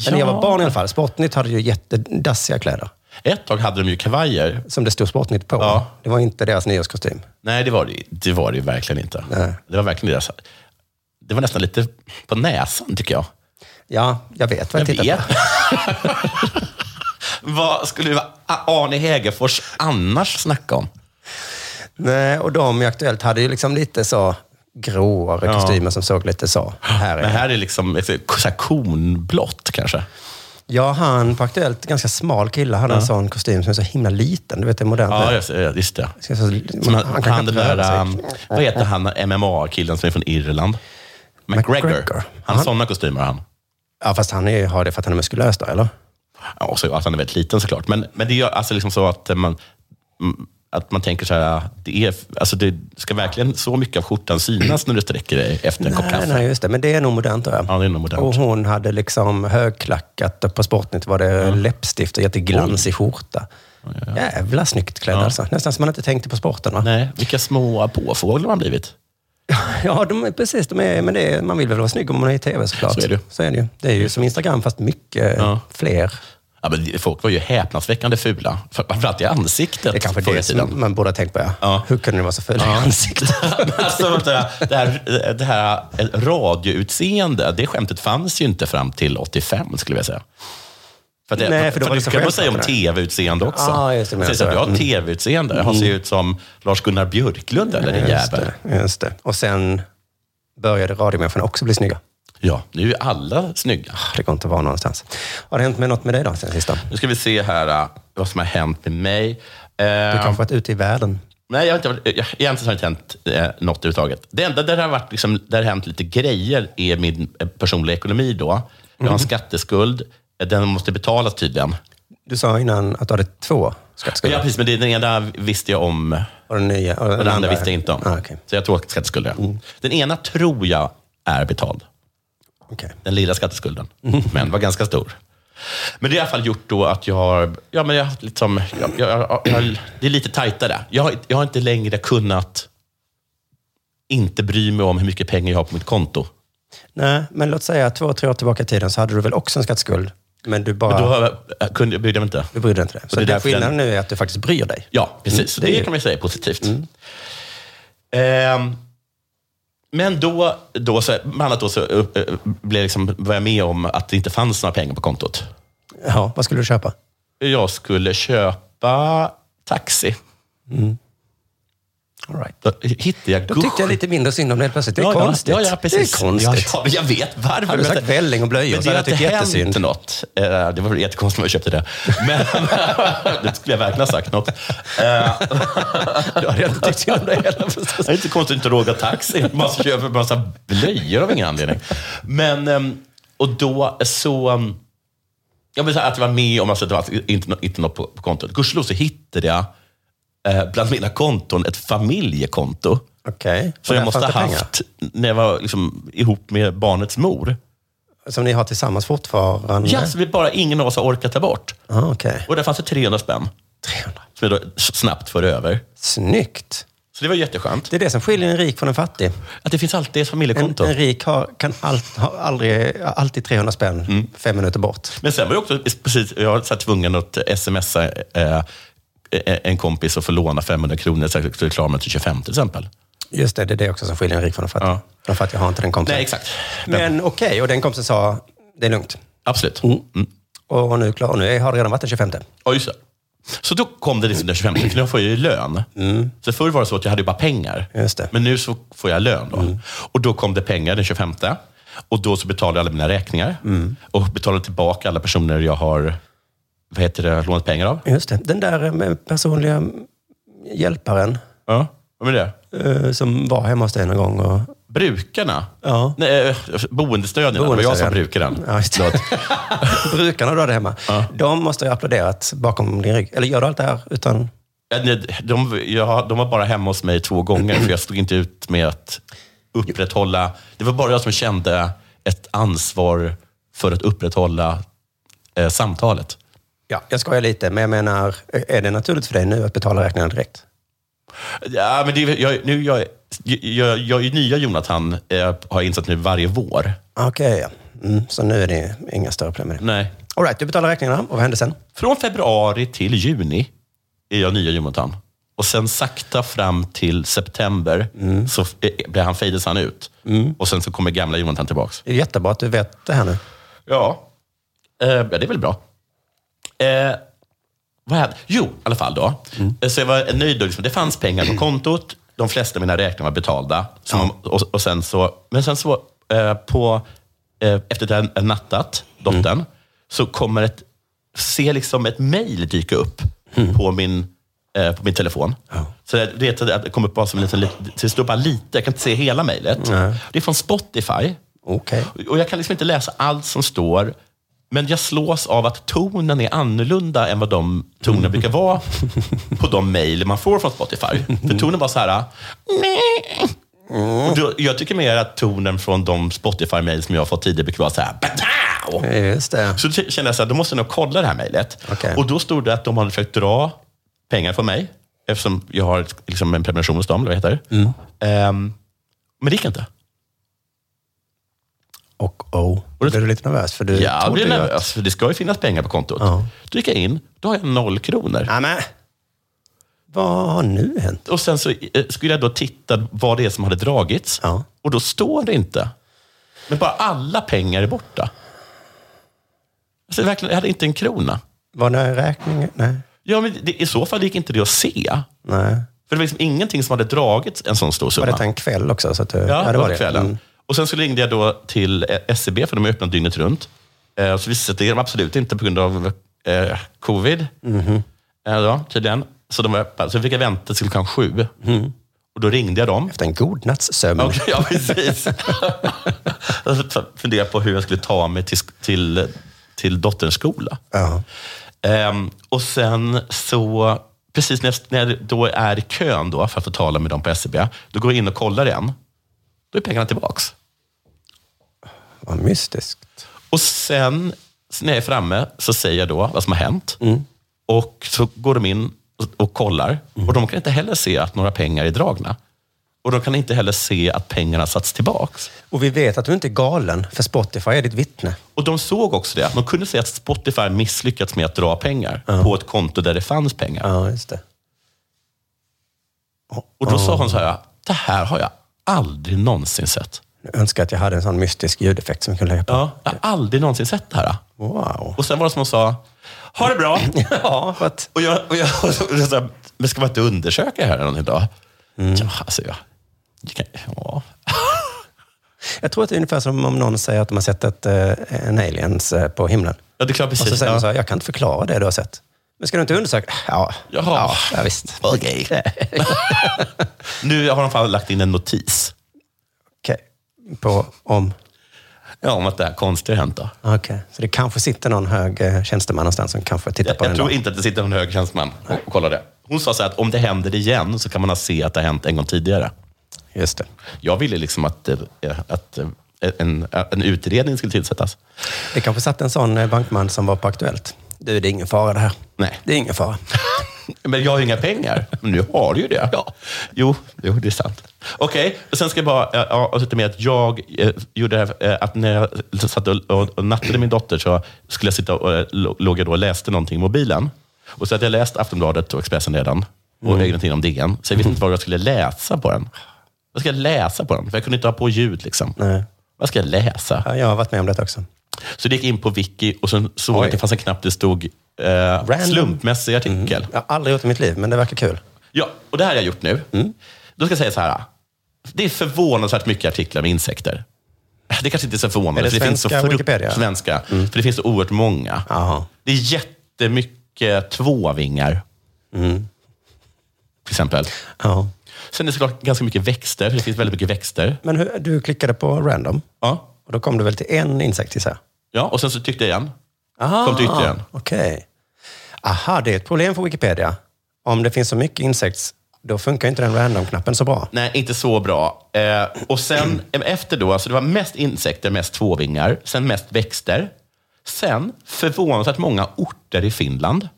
[SPEAKER 7] Men när jag var
[SPEAKER 6] Ja.
[SPEAKER 7] barn i alla fall. Sportnytt hade ju jättedassiga kläder.
[SPEAKER 6] Ett tag hade de ju kavajer.
[SPEAKER 7] Som det stod Sportnytt på.
[SPEAKER 6] Ja.
[SPEAKER 7] Det var inte deras nyårskostym.
[SPEAKER 6] Nej, det var det, det, var det ju verkligen inte.
[SPEAKER 7] Nej.
[SPEAKER 6] Det var verkligen deras... det var nästan lite på näsan, tycker jag.
[SPEAKER 7] Ja, jag vet vad jag, tittar på.
[SPEAKER 6] Vad skulle Arne Hegerfors annars snacka om?
[SPEAKER 7] Nej, och de i Aktuellt hade ju liksom lite så gråare
[SPEAKER 6] Ja.
[SPEAKER 7] kostymer som såg lite så. Här
[SPEAKER 6] Men
[SPEAKER 7] är.
[SPEAKER 6] här är liksom ett så här kornblått kanske.
[SPEAKER 7] Ja, han på Aktuellt, ganska smal kille, hade en sån kostym som är så himla liten. Du vet, det är modernt
[SPEAKER 6] Ja,
[SPEAKER 7] nu.
[SPEAKER 6] just, ja, just det.
[SPEAKER 7] Ska jag så-
[SPEAKER 6] Som han,
[SPEAKER 7] han
[SPEAKER 6] han,
[SPEAKER 7] kan
[SPEAKER 6] den
[SPEAKER 7] inte
[SPEAKER 6] där,
[SPEAKER 7] röra
[SPEAKER 6] um,
[SPEAKER 7] sig.
[SPEAKER 6] vad heter han MMA-killen som är från Irland? McGregor.
[SPEAKER 7] McGregor.
[SPEAKER 6] Han har
[SPEAKER 7] Han-
[SPEAKER 6] sådana kostymer han.
[SPEAKER 7] Ja, fast han är, ju- har det för att han är muskulös då, eller?
[SPEAKER 6] Ja, och så att han är väldigt liten såklart. Men, men det är ju alltså liksom så att man, mm, att man tänker så här, det, är, alltså det ska verkligen så mycket av skjortan synas när du sträcker dig efter en kopp
[SPEAKER 7] Nej,
[SPEAKER 6] kaffe?
[SPEAKER 7] nej, just det. Men det är nog modernt då.
[SPEAKER 6] Ja, det är nog modernt.
[SPEAKER 7] Och hon hade liksom högklackat och på Sportnytt var det läppstift och jätteglansig skjorta. Jävla snyggt klädd alltså. Nästan som man inte tänkte på sporten. Va?
[SPEAKER 6] Nej, vilka små påfåglar man blivit.
[SPEAKER 7] Ja, de, är- precis. De är, men det är, man vill väl vara snygg om man är i tv såklart.
[SPEAKER 6] Så är det ju.
[SPEAKER 7] Så är det, ju. det är ju som Instagram fast mycket
[SPEAKER 6] Ja.
[SPEAKER 7] fler.
[SPEAKER 6] Ja, men folk var ju häpnadsväckande fula. Framförallt i ansiktet
[SPEAKER 7] Det är kanske
[SPEAKER 6] förr i
[SPEAKER 7] det
[SPEAKER 6] tiden.
[SPEAKER 7] som man borde ha tänkt på. Ja.
[SPEAKER 6] Ja.
[SPEAKER 7] Hur kunde ni vara så fula i ansiktet?
[SPEAKER 6] alltså, vänta, det, här, det här eh, radioutseende, det skämtet fanns ju inte fram till 85, skulle jag säga. För att det,
[SPEAKER 7] Nej, för då var det
[SPEAKER 6] du
[SPEAKER 7] så
[SPEAKER 6] kan man
[SPEAKER 7] skönt,
[SPEAKER 6] säga om
[SPEAKER 7] menar du?
[SPEAKER 6] tv-utseende också.
[SPEAKER 7] Ah, just det,
[SPEAKER 6] Man
[SPEAKER 7] menar
[SPEAKER 6] säger så
[SPEAKER 7] så,
[SPEAKER 6] att jag har
[SPEAKER 7] ja. Mm.
[SPEAKER 6] tv-utseende. Jag ser ut som Lars-Gunnar Björklund eller den
[SPEAKER 7] Just
[SPEAKER 6] jäveln.
[SPEAKER 7] det, just det. Och sen började radiomänniskorna också bli snygga.
[SPEAKER 6] Ja, nu är alla snygga.
[SPEAKER 7] Det går inte att vara någonstans. Har det hänt med något med dig då sen sista?
[SPEAKER 6] Nu ska vi se här eh, vad som har hänt med mig.
[SPEAKER 7] Du
[SPEAKER 6] Eh,
[SPEAKER 7] kanske varit ute i världen?
[SPEAKER 6] Nej, jag har inte, varit- jag, egentligen har det inte hänt eh, något överhuvudtaget. Det enda där det har, varit, liksom, där det har hänt lite grejer är min eh, personliga ekonomi då. Jag
[SPEAKER 7] Mhm.
[SPEAKER 6] har en skatteskuld. Eh, Den måste betalas tydligen.
[SPEAKER 7] Du sa innan att du hade två
[SPEAKER 6] Ja,
[SPEAKER 7] skattskulder.
[SPEAKER 6] precis, men det- den ena visste jag om,
[SPEAKER 7] Och den nya. Och den,
[SPEAKER 6] den andra visste jag inte om.
[SPEAKER 7] Ah, okej. Mm.
[SPEAKER 6] Så jag har två skatteskulder. Den ena tror jag är betald.
[SPEAKER 7] Okej.
[SPEAKER 6] Den lilla skatteskulden. Men var ganska stor. Men det har i alla fall gjort då att jag har... Ja, men jag, har haft liksom, jag, jag, jag, jag, det är lite tajtare. Jag, har- jag har inte längre kunnat inte bry mig om hur mycket pengar jag har på mitt konto.
[SPEAKER 7] Nej, men låt säga två, tre år tillbaka i tiden så hade du väl också en skattskuld. Men du bara...
[SPEAKER 6] Men då har jag, jag kunde, jag brydde mig inte.
[SPEAKER 7] Du bryr dig inte.
[SPEAKER 6] det
[SPEAKER 7] Så
[SPEAKER 6] är
[SPEAKER 7] det den
[SPEAKER 6] därför den-
[SPEAKER 7] skillnaden nu är att du faktiskt bryr dig.
[SPEAKER 6] Ja, precis. Så det,
[SPEAKER 7] det är ju- Mm.
[SPEAKER 6] kan man ju säga är positivt. Ehm, men då, då, så, bland annat då så, eh, eh, blev liksom, var jag med om att det inte fanns några pengar på kontot.
[SPEAKER 7] Ja, vad skulle du köpa?
[SPEAKER 6] Jag skulle köpa taxi.
[SPEAKER 7] All right.
[SPEAKER 6] Då hittade jag
[SPEAKER 7] Mm. Då tyckte jag lite mindre synd om det helt plötsligt. Det är konstigt.
[SPEAKER 6] Ja, ja, precis.
[SPEAKER 7] Det är konstigt.
[SPEAKER 6] Ja, ja, men jag vet varför.
[SPEAKER 7] Hade du
[SPEAKER 6] men-
[SPEAKER 7] sagt välling och blöjor
[SPEAKER 6] men
[SPEAKER 7] så
[SPEAKER 6] det
[SPEAKER 7] hade
[SPEAKER 6] har
[SPEAKER 7] jag
[SPEAKER 6] inte
[SPEAKER 7] tyckt jättesynd.
[SPEAKER 6] hänt något. Eh, Det var jättekonstigt om jag köpte det. Men, det skulle jag verkligen ha sagt något. Eh,
[SPEAKER 7] Då hade jag inte tyckt synd om dig heller förstås.
[SPEAKER 6] Det är inte konstigt att inte råga taxi. Man köper en massa blöjor av ingen anledning. Men, ehm, och då så... ehm, Jag vill säga att jag var med om att det var inte, nå- inte något på, på kontot. Gudskelov så hittade jag eh, bland mina konton ett familjekonto.
[SPEAKER 7] Okej.
[SPEAKER 6] Som
[SPEAKER 7] Och
[SPEAKER 6] jag
[SPEAKER 7] där
[SPEAKER 6] måste
[SPEAKER 7] fanns det Mm.
[SPEAKER 6] ha haft när jag var liksom, ihop med barnets mor.
[SPEAKER 7] pengar. Som ni har tillsammans fortfarande?
[SPEAKER 6] Ja, så vi bara ingen av oss har orkat ta bort.
[SPEAKER 7] Ah, Okej.
[SPEAKER 6] Och där fanns det 300 spänn.
[SPEAKER 7] 300.
[SPEAKER 6] Som jag då s- snabbt förde över.
[SPEAKER 7] Snyggt.
[SPEAKER 6] Så det var jätteskönt.
[SPEAKER 7] Det är det som skiljer en rik från en fattig.
[SPEAKER 6] Att det finns alltid ett
[SPEAKER 7] En,
[SPEAKER 6] familjekonto.
[SPEAKER 7] en rik har, kan all, har aldrig, alltid 300 spänn
[SPEAKER 6] Mm.
[SPEAKER 7] fem minuter bort.
[SPEAKER 6] Men sen var jag också precis, jag var så här tvungen att smsa eh, en kompis och få låna 500 kronor så att jag skulle klara mig till 25 till exempel.
[SPEAKER 7] Just det, det är det också som skiljer en rik från en fattig.
[SPEAKER 6] Ja.
[SPEAKER 7] De fattiga har inte den kompisen.
[SPEAKER 6] Nej, exakt. Men,
[SPEAKER 7] Men okej, och den kompisen sa, det är lugnt.
[SPEAKER 6] absolut. Mm.
[SPEAKER 7] Och, och nu, klar, och nu har det redan varit den 25.
[SPEAKER 6] Ja, just det. Så då kom det liksom den 25, för nu får jag ju lön. Så förr var det så att jag hade ju bara pengar.
[SPEAKER 7] Just det.
[SPEAKER 6] Men nu så får jag lön. Då. Och då kom det pengar den 25. Och då så betalade jag alla mina räkningar. Och betalade tillbaka alla personer jag har vad heter det, lånat pengar av.
[SPEAKER 7] Just det. Den där eh, med personliga hjälparen
[SPEAKER 6] Ja. Vad menar du?
[SPEAKER 7] eh, som var hemma hos dig någon gång. Och,
[SPEAKER 6] Brukarna?
[SPEAKER 7] Ja.
[SPEAKER 6] Nej, eh, boendestöden. Det var jag som brukar den.
[SPEAKER 7] Ja, just det. Brukarna du hade hemma. De måste ju ha applåderat bakom din rygg. Eller gör du allt det här utan...
[SPEAKER 6] Ja, nej, De, jag, de var bara hemma hos mig två gånger, för jag stod inte ut med att upprätthålla... Det var bara jag som kände ett ansvar för att upprätthålla eh, samtalet.
[SPEAKER 7] Ja, jag skojar lite, men jag menar, är det naturligt för dig nu att betala räkningarna direkt?
[SPEAKER 6] Ja, men det, är- jag, nu, jag, jag, jag är nya Jonathan, eh, har jag insett nu, varje vår.
[SPEAKER 7] Okej, ja. Mm, så nu är det inga större problem med det.
[SPEAKER 6] Nej.
[SPEAKER 7] All right, du betalar räkningarna och vad hände sen?
[SPEAKER 6] Från februari till juni är jag nya Jonathan. Och sen sakta fram till september så f- eh, blir han, fejdes han ut. Och sen så kommer gamla Jonathan tillbaks.
[SPEAKER 7] Det är jättebra att du vet det här nu.
[SPEAKER 6] Ja. Eh, ja, det är väl bra. Eh, vad hände? Jo, i alla fall då. Eh, Så jag var nöjd. då, Liksom, det fanns pengar på kontot. De flesta av mina räkningar var betalda. Så man, och, och sen så, men sen så, eh, på, eh, efter att jag hade nattat dottern, så kommer ett, ser liksom ett mejl dyka upp på min eh, på min telefon. Så jag vet att det kom upp bara som en liten, lit- så det står bara lite, jag kan inte se hela mejlet. Det är från Spotify.
[SPEAKER 7] Okej.
[SPEAKER 6] Och jag kan liksom inte läsa allt som står, men jag slås av att tonen är annorlunda än vad de toner brukar vara på de mejl man får från Spotify. För tonen var så här... "Meh." Och då, jag tycker mer att tonen från de Spotify-mejl som jag har fått tidigare brukar vara så här... "Badao!"
[SPEAKER 7] Just det.
[SPEAKER 6] Så då t- kände jag så här, då måste jag nog kolla det här mejlet.
[SPEAKER 7] Okej.
[SPEAKER 6] Och då stod det att de hade försökt dra pengar från mig, eftersom jag har ett- liksom en prenumeration hos dem, eller vad heter det? Ehm, men det gick inte.
[SPEAKER 7] Och oh. Blev du lite nervös? För du
[SPEAKER 6] Ja, jag
[SPEAKER 7] trodde
[SPEAKER 6] blir
[SPEAKER 7] ju att-
[SPEAKER 6] nervös, för det ska ju finnas pengar på kontot.
[SPEAKER 7] Ja.
[SPEAKER 6] Då gick jag in, då har jag noll kronor.
[SPEAKER 7] Nej, men. Vad har nu hänt?
[SPEAKER 6] Och sen så eh, skulle jag då titta vad det är som hade dragits.
[SPEAKER 7] Ja.
[SPEAKER 6] Och då står det inte. Men bara alla pengar är borta. Alltså, verkligen, jag hade inte en krona.
[SPEAKER 7] Var det räkningen? Nej.
[SPEAKER 6] Ja, men det, I så fall gick inte det att se.
[SPEAKER 7] Nej.
[SPEAKER 6] För det var liksom ingenting som hade dragits en sån stor
[SPEAKER 7] Var
[SPEAKER 6] summa.
[SPEAKER 7] detta en kväll också? Så att du...
[SPEAKER 6] Ja, det var kvällen.
[SPEAKER 7] Mm.
[SPEAKER 6] Och sen så ringde jag då till eh, SCB, för de är öppna dygnet runt. Eh, Så visste det sig att de absolut inte på grund av eh, covid. Eh, då, tydligen. Så de var öppna. Så fick jag vänta till klockan sju. Och då ringde jag dem.
[SPEAKER 7] Efter en god natts sömn.
[SPEAKER 6] Okej, ja, precis. Och så funderade på hur jag skulle ta mig till, sk- till, till dotterns skola.
[SPEAKER 7] Ja.
[SPEAKER 6] Ehm, och sen så, precis när jag, när jag då är i kön då för att få tala med dem på SCB, då går jag in och kollar igen. Då är pengarna tillbaks.
[SPEAKER 7] Vad mystiskt.
[SPEAKER 6] Och sen så när jag är framme så säger jag då vad som har hänt. Och så går de in och, och kollar. Och de kan inte heller se att några pengar är dragna. Och de kan inte heller se att pengarna satts tillbaks.
[SPEAKER 7] Och vi vet att du inte är galen, för Spotify är ditt vittne.
[SPEAKER 6] Och de såg också det. De kunde se att Spotify misslyckats med att dra pengar på ett konto där det fanns pengar.
[SPEAKER 7] Ja, just det.
[SPEAKER 6] Och då sa hon så här, det här har jag aldrig någonsin sett.
[SPEAKER 7] Jag önskar att jag hade en sån mystisk ljudeffekt som jag kunde lägga på.
[SPEAKER 6] Ja, jag har aldrig någonsin sett det här.
[SPEAKER 7] Wow.
[SPEAKER 6] Och sen var det som hon sa, ha det bra.
[SPEAKER 7] Ja, för att...
[SPEAKER 6] Och jag, och jag och så, och så, här, men ska man inte undersöka det här någon dag?
[SPEAKER 7] Mm.
[SPEAKER 6] Ja, alltså jag... jag kan, ja.
[SPEAKER 7] Jag tror att det är ungefär som om någon säger att de har sett ett, eh, en aliens eh, på himlen.
[SPEAKER 6] ja, det är klart
[SPEAKER 7] Och så
[SPEAKER 6] precis.
[SPEAKER 7] säger de så
[SPEAKER 6] Ja.
[SPEAKER 7] här, jag kan inte förklara det du har sett. Men ska du inte undersöka? Ja,
[SPEAKER 6] Jaha.
[SPEAKER 7] ja visst.
[SPEAKER 6] Okej. nu har de fan lagt in en notis
[SPEAKER 7] Okej. På om...
[SPEAKER 6] ja, om att det här konstiga har hänt. Då.
[SPEAKER 7] Okej, så det kanske sitter någon hög eh, tjänsteman någonstans som kanske tittar
[SPEAKER 6] Jag,
[SPEAKER 7] på
[SPEAKER 6] jag
[SPEAKER 7] den.
[SPEAKER 6] tror
[SPEAKER 7] då.
[SPEAKER 6] inte att det sitter någon hög tjänsteman och, och kollar det. Hon sa så här att om det händer igen så kan man se att det har hänt en gång tidigare.
[SPEAKER 7] Just det.
[SPEAKER 6] Jag ville liksom att, eh, att eh, en, en utredning skulle tillsättas.
[SPEAKER 7] Det kanske satt en sån eh, bankman som var på Aktuellt. Du, det är ingen fara det här.
[SPEAKER 6] Nej.
[SPEAKER 7] Det är ingen fara.
[SPEAKER 6] Men jag har ju inga pengar. Men nu har du ju det. Ja. Jo, jo, det är sant. Okej, och sen ska jag bara eh, ja, avsluta med att jag eh, gjorde det här, eh, att när jag satt och, och, och nattade min dotter så skulle jag sitta och eh, lo- låg jag då och läste någonting i mobilen. Och så hade jag läst Aftonbladet och Expressen redan och mm. någonting om DN. Så jag visste inte vad jag skulle läsa på den. Vad ska jag läsa på den? För jag kunde inte ha på ljud liksom.
[SPEAKER 7] Nej.
[SPEAKER 6] Vad ska jag läsa?
[SPEAKER 7] Ja, jag har varit med om detta också.
[SPEAKER 6] Så det gick in på Wiki och sen såg jag att det fanns en knapp där det stod eh, slumpmässig artikel.
[SPEAKER 7] Jag har aldrig gjort det i mitt liv, men det verkar kul.
[SPEAKER 6] Ja, och det här har jag gjort nu.
[SPEAKER 7] Mm.
[SPEAKER 6] Då ska jag säga så här. Det är förvånansvärt mycket artiklar med insekter. Det kanske inte är så
[SPEAKER 7] Är
[SPEAKER 6] förvånande.
[SPEAKER 7] det
[SPEAKER 6] för det finns så
[SPEAKER 7] svenska Wikipedia? Mm.
[SPEAKER 6] Svenska. För det finns så oerhört många.
[SPEAKER 7] Jaha.
[SPEAKER 6] Det är jättemycket tvåvingar.
[SPEAKER 7] Mm.
[SPEAKER 6] Till exempel.
[SPEAKER 7] Ja.
[SPEAKER 6] Sen är det såklart ganska mycket växter. Det finns väldigt mycket växter.
[SPEAKER 7] Men hur, du klickade på random
[SPEAKER 6] Ja.
[SPEAKER 7] och då kom du väl till en insekt gissar jag?
[SPEAKER 6] ja och sen så tyckte jag igen.
[SPEAKER 7] Aha,
[SPEAKER 6] Kom till ytterligare en.
[SPEAKER 7] Okej. Aha, det är ett problem för Wikipedia. Om det finns så mycket insekts, då funkar inte den random-knappen så bra.
[SPEAKER 6] Nej, inte så bra. Eh, och sen eh, efter då, alltså det var mest insekter, mest tvåvingar, sen mest växter. Sen förvånansvärt många orter i Finland.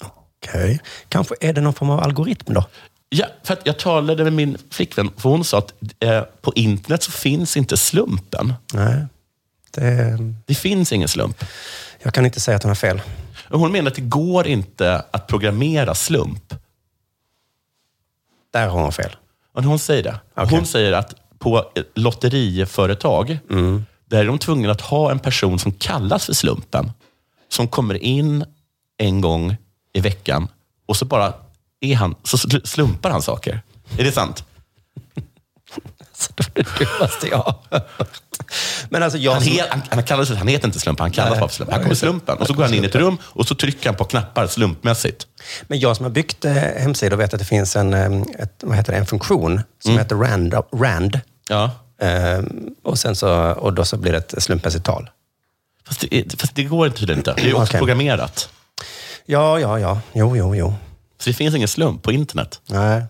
[SPEAKER 7] Okej. Kanske är det någon form av algoritm då?
[SPEAKER 6] Ja, för att jag talade med min flickvän, för hon sa att eh, på internet så finns inte slumpen.
[SPEAKER 7] Nej. Det,
[SPEAKER 6] Det finns ingen slump.
[SPEAKER 7] jag kan inte säga att den har fel.
[SPEAKER 6] Och Hon menar att det går inte att programmera slump.
[SPEAKER 7] Där har hon fel.
[SPEAKER 6] Men hon säger det.
[SPEAKER 7] Okej.
[SPEAKER 6] Hon säger att på eh, lotteriföretag,
[SPEAKER 7] Mm.
[SPEAKER 6] där är de tvungna att ha en person som kallas för slumpen. Som kommer in en gång i veckan och så bara är han, så sl- slumpar han saker. Är det sant?
[SPEAKER 7] Så det var det dummaste jag har hört. Men alltså jag...
[SPEAKER 6] Han, he, han, han, kallas, han heter inte slumpen, han kallas
[SPEAKER 7] Nej.
[SPEAKER 6] bara för slumpen. Han kommer slumpen och så går han in i ett rum och så trycker han på knappar slumpmässigt.
[SPEAKER 7] Men jag som har byggt eh, hemsidor vet att det finns en, eh, ett, vad heter det, en funktion som heter rand, rand.
[SPEAKER 6] Ja.
[SPEAKER 7] Eh, och, sen så, och då så blir det ett slumpmässigt tal.
[SPEAKER 6] Fast det, är- fast det går tydligen inte. Det är ju också
[SPEAKER 7] Okej.
[SPEAKER 6] programmerat.
[SPEAKER 7] Ja, ja, ja. Jo, jo, jo.
[SPEAKER 6] Så det finns ingen slump på internet.
[SPEAKER 7] Nej.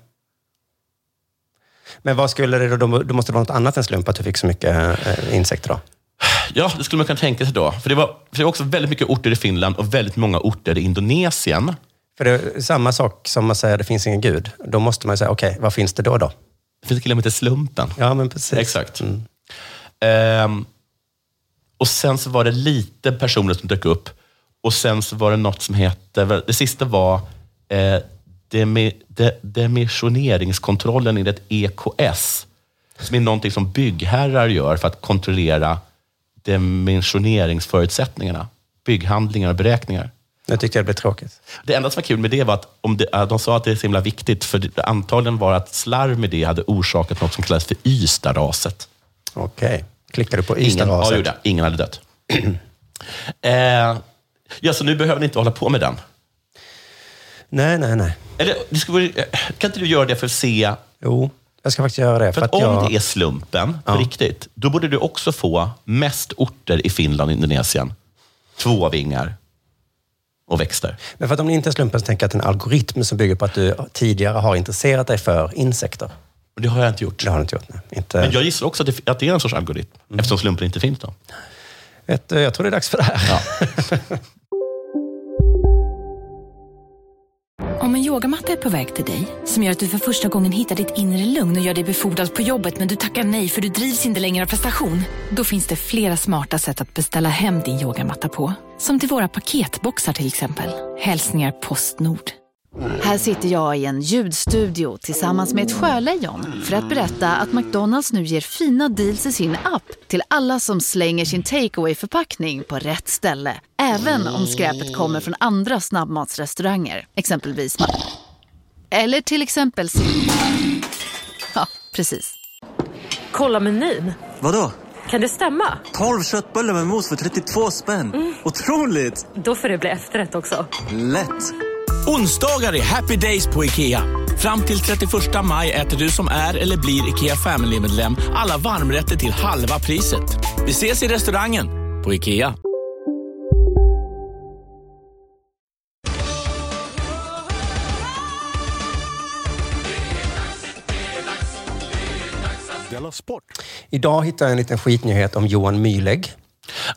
[SPEAKER 7] Men vad skulle det då- då? Då måste det vara något annat än slump att du fick så mycket eh, insekter då?
[SPEAKER 6] Ja, det skulle man kunna tänka sig då. För det, var, för det var också väldigt mycket orter i Finland och väldigt många orter i Indonesien.
[SPEAKER 7] För det är samma sak som att säga det finns ingen gud. Då måste man ju säga, okej, vad finns det då då?
[SPEAKER 6] Det finns en kille som heter Slumpen.
[SPEAKER 7] Ja, men precis.
[SPEAKER 6] Exakt.
[SPEAKER 7] Mm.
[SPEAKER 6] Ehm, och sen så var det lite personer som dök upp. Och sen så var det något som hette, det sista var eh, demi, de, demisioneringskontrollen enligt EKS. E Som är någonting som byggherrar gör för att kontrollera dimensioneringsförutsättningarna. Bygghandlingar och beräkningar.
[SPEAKER 7] Nu tyckte jag det blev tråkigt.
[SPEAKER 6] Det enda som var kul med det var att om det, äh, de sa att det är så himla viktigt, för det, antagligen var att slarv med det hade orsakat något som kallas för Ystadaset.
[SPEAKER 7] Okej. Klickar du på
[SPEAKER 6] Ingen, ja, jag
[SPEAKER 7] Ystadaset?
[SPEAKER 6] gjorde det. Ingen hade dött. eh, ja, så nu behöver ni inte hålla på med den.
[SPEAKER 7] Nej, nej, nej.
[SPEAKER 6] Eller, det skulle, vara- eh, kan inte du göra det för att se?
[SPEAKER 7] Jo, jag ska faktiskt göra det.
[SPEAKER 6] För att om
[SPEAKER 7] jag...
[SPEAKER 6] det är slumpen, på riktigt, då borde du också få mest orter i Finland och Indonesien. Två vingar och växter.
[SPEAKER 7] Men för att om det inte är slumpen så tänker jag att det är en algoritm som bygger på att du tidigare har intresserat dig för insekter.
[SPEAKER 6] Och det har jag inte gjort.
[SPEAKER 7] Det har du inte gjort. Nej. Inte...
[SPEAKER 6] Men
[SPEAKER 7] jag...
[SPEAKER 6] jag gissar också att det, att det är en sorts algoritm, eftersom slumpen inte finns då.
[SPEAKER 7] Vet, du, jag tror det är dags för det här.
[SPEAKER 9] Om en yogamatta är på väg till dig, som gör att du för första gången hittar ditt inre lugn och gör dig befordrad på jobbet men du tackar nej för du drivs inte längre av prestation. Då finns det flera smarta sätt att beställa hem din yogamatta på. Som till våra paketboxar till exempel. Hälsningar Postnord.
[SPEAKER 10] Här sitter jag i en ljudstudio tillsammans med ett sjölejon för att berätta att McDonalds nu ger fina deals i sin app till alla som slänger sin takeaway förpackning på rätt ställe. Även om skräpet kommer från andra snabbmatsrestauranger, exempelvis Ma- Eller till exempel Sim- Ja, precis.
[SPEAKER 11] Kolla menyn.
[SPEAKER 12] Vadå?
[SPEAKER 11] Kan det stämma? Mm.
[SPEAKER 12] 12 köttbullar med mos för 32 spänn. Otroligt!
[SPEAKER 11] Då får det bli efterrätt också.
[SPEAKER 12] Lätt!
[SPEAKER 5] Onsdagar är happy days på IKEA. Fram till 31 maj äter du som är eller blir IKEA Family-medlem alla varmrätter till halva priset. Vi ses i restaurangen på IKEA. Della Sport.
[SPEAKER 7] Idag hittade jag en liten skitnyhet om Johan Myhlegg.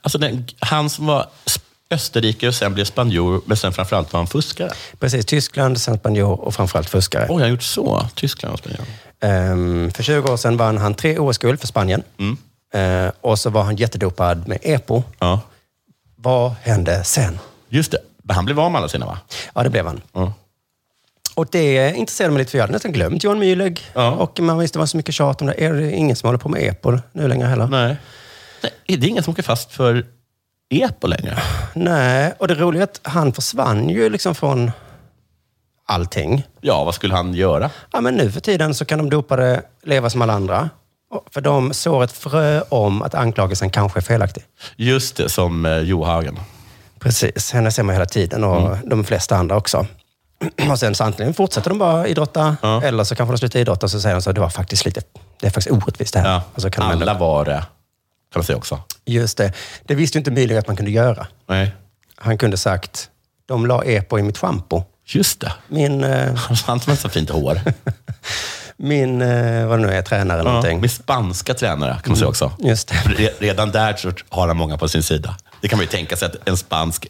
[SPEAKER 6] Alltså den, han som var sp- österrikare och sen blev spanjor, men sen framförallt var han fuskare.
[SPEAKER 7] Precis, Tyskland, sen spanjor och framförallt fuskare.
[SPEAKER 6] Oj, han gjort så? Tyskland och spanjor.
[SPEAKER 7] Ehm, för 20 år sedan vann han tre OS-guld för Spanien.
[SPEAKER 6] Mm.
[SPEAKER 7] Ehm, och så var han jättedopad med EPO.
[SPEAKER 6] Ja,
[SPEAKER 7] Vad hände sen?
[SPEAKER 6] just det. Men han blev av med alla sina, va?
[SPEAKER 7] Ja, det blev han.
[SPEAKER 6] Ja.
[SPEAKER 7] Och det intresserade mig lite, för jag hade nästan glömt Johan Myhlegg.
[SPEAKER 6] Ja.
[SPEAKER 7] Och man visste det var så mycket tjat om det. Är det ingen som håller på med EPO nu längre heller?
[SPEAKER 6] Nej. Nej. Det är ingen som åker fast för EPO längre.
[SPEAKER 7] Nej, och det roliga är att han försvann ju liksom från allting.
[SPEAKER 6] Ja, vad skulle han göra?
[SPEAKER 7] Ja, men nu för tiden så kan de dopade leva som alla andra. Och- För de sår ett frö om att anklagelsen kanske är felaktig.
[SPEAKER 6] Just det, som eh, Johagen.
[SPEAKER 7] Precis, henne ser man hela tiden och
[SPEAKER 6] Mm.
[SPEAKER 7] de flesta andra också. Och sen så antingen fortsätter de bara idrotta, eller så kanske de slutar idrotta och så säger de så det var faktiskt lite, det är faktiskt orättvist det här.
[SPEAKER 6] Ja.
[SPEAKER 7] Och så kan de
[SPEAKER 6] alla
[SPEAKER 7] ändå,
[SPEAKER 6] var det, kan man säga också.
[SPEAKER 7] just det, det visste ju inte Myhlegg att man kunde göra.
[SPEAKER 6] Nej.
[SPEAKER 7] Han kunde sagt, de la EPO i mitt schampo.
[SPEAKER 6] Just det.
[SPEAKER 7] Min, eh,
[SPEAKER 6] Han som har så fint hår.
[SPEAKER 7] min eh, vad det nu är, tränare eller
[SPEAKER 6] Ja,
[SPEAKER 7] någonting.
[SPEAKER 6] med spanska tränare, kan man säga också.
[SPEAKER 7] Just det.
[SPEAKER 6] Re- Redan där så har han många på sin sida. Det kan man ju tänka sig att en spansk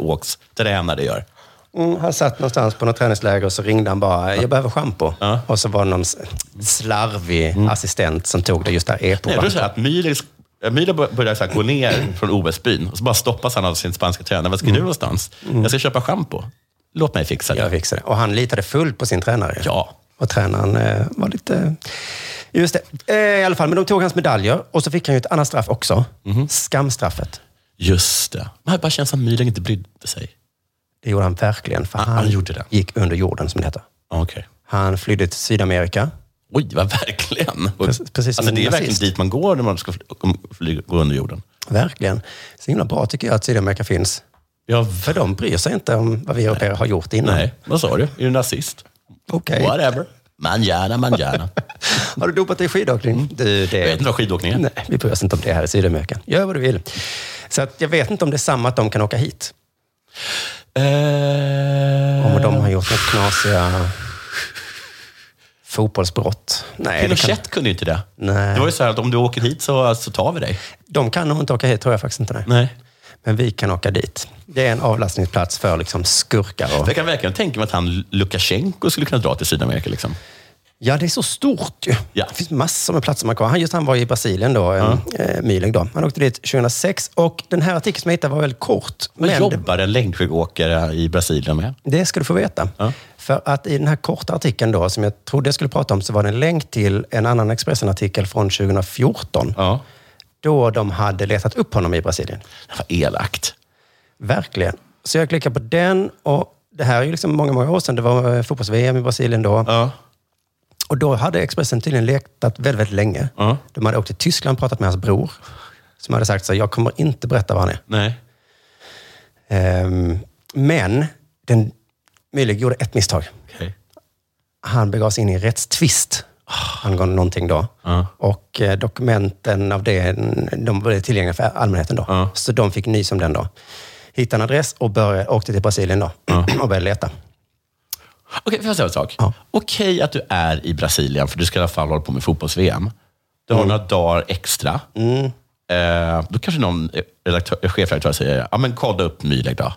[SPEAKER 6] längdskidåkstränare gör.
[SPEAKER 7] Mm, han satt någonstans på något träningsläger och så ringde han bara, jag behöver schampo. Och så var det någon s- slarvig assistent som tog det just där epo
[SPEAKER 6] Mm. Nej, jag tror så här att Myhlegg Myhre börjar så här gå ner från OS-byn och så bara stoppas han av sin spanska tränare. Vad ska
[SPEAKER 7] Mm.
[SPEAKER 6] du någonstans? Jag ska köpa schampo. Låt mig fixa det.
[SPEAKER 7] Jag fixade det. Och han litade fullt på sin tränare.
[SPEAKER 6] Ja.
[SPEAKER 7] Och tränaren eh, var lite... Just det. Eh, I alla fall, men de tog hans medaljer och så fick han ju ett annat straff också.
[SPEAKER 6] Mhm.
[SPEAKER 7] Skamstraffet.
[SPEAKER 6] Just det. Men här bara känns som Myhren inte brydde sig.
[SPEAKER 7] Det gjorde han verkligen, för han,
[SPEAKER 6] gjorde det.
[SPEAKER 7] gick under jorden, som det heter.
[SPEAKER 6] Ah, Okej.
[SPEAKER 7] Han flydde till Sydamerika.
[SPEAKER 6] Oj, vad verkligen.
[SPEAKER 7] Precis- precis som
[SPEAKER 6] alltså, det är
[SPEAKER 7] en
[SPEAKER 6] verkligen
[SPEAKER 7] nazist.
[SPEAKER 6] dit man går när man ska fly, om- fly, gå under jorden.
[SPEAKER 7] Verkligen. Så himla bra tycker jag att Sydamerika finns.
[SPEAKER 6] Ja,
[SPEAKER 7] För de bryr sig inte om vad vi europeer har gjort innan.
[SPEAKER 6] Nej, vad sa du? Är du nazist?
[SPEAKER 7] Okej.
[SPEAKER 6] Whatever. Man gärna, man gärna.
[SPEAKER 7] Har du dopat dig i skidåkning? Du, det...
[SPEAKER 6] Mm. Jag vet inte vad skidåkning är.
[SPEAKER 7] Eh, Nej, vi bryr oss inte om det här i Sydamerika. Gör vad du vill. Så att jag vet inte om det är samma att de kan åka hit.
[SPEAKER 6] Eh,
[SPEAKER 7] Om de har gjort något knasiga fotbollsbrott. Nej, det
[SPEAKER 6] Pinochet
[SPEAKER 7] kan...
[SPEAKER 6] kunde ju inte det.
[SPEAKER 7] Nej.
[SPEAKER 6] Det var ju så här att om du åker hit så, så tar vi dig.
[SPEAKER 7] De kan nog inte åka hit, tror jag faktiskt inte. Nej.
[SPEAKER 6] Nej.
[SPEAKER 7] Men vi kan åka dit. Det är en avlastningsplats för liksom skurkar. Och...
[SPEAKER 6] Jag kan verkligen tänka mig att han Lukasjenko skulle kunna dra till Sydamerika. Liksom.
[SPEAKER 7] Ja, det är så stort ju.
[SPEAKER 6] Ja.
[SPEAKER 7] Det finns massor med platser man kan han, Just han var i Brasilien då, mm. eh, Myhlegg då. Han åkte dit 2006 och den här artikeln som jag hittade var väldigt kort.
[SPEAKER 6] Men,
[SPEAKER 7] det-
[SPEAKER 6] jobbar en längdskidåkare i Brasilien med?
[SPEAKER 7] Det ska du få veta.
[SPEAKER 6] Ja.
[SPEAKER 7] För att i den här korta artikeln då, som jag trodde jag skulle prata om, så var det en länk till en annan Expressen-artikel från 2014.
[SPEAKER 6] Ja.
[SPEAKER 7] Då de hade letat upp honom i Brasilien.
[SPEAKER 6] Vad elakt.
[SPEAKER 7] Verkligen. Så jag klickade på den och det här är ju liksom många, många år sedan. Det var eh, fotbolls-VM i Brasilien då.
[SPEAKER 6] Ja.
[SPEAKER 7] Och då hade Expressen tydligen letat väldigt, väldigt länge.
[SPEAKER 6] Ja.
[SPEAKER 7] De hade åkt till Tyskland och pratat med hans bror. Som hade sagt så här, jag kommer inte berätta var han är.
[SPEAKER 6] Nej.
[SPEAKER 7] Ehm, men den, Müller gjorde ett misstag.
[SPEAKER 6] Okej.
[SPEAKER 7] han begav sig in i en rättstvist angående någonting då.
[SPEAKER 6] Ja.
[SPEAKER 7] Och eh, dokumenten av det, de var tillgängliga för allmänheten då.
[SPEAKER 6] Ja.
[SPEAKER 7] Så de fick nys om den då. Hittade en adress och började, åkte till Brasilien då och började leta.
[SPEAKER 6] Okej, får jag säga en sak?
[SPEAKER 7] Ja.
[SPEAKER 6] Okej att du är i Brasilien, för du ska i alla fall hålla på med fotbolls-VM. Du
[SPEAKER 7] Mm.
[SPEAKER 6] har några dagar extra. Eh, då kanske någon redaktör, eh, chefredaktör säger, ja men kolla upp Mühlegg då.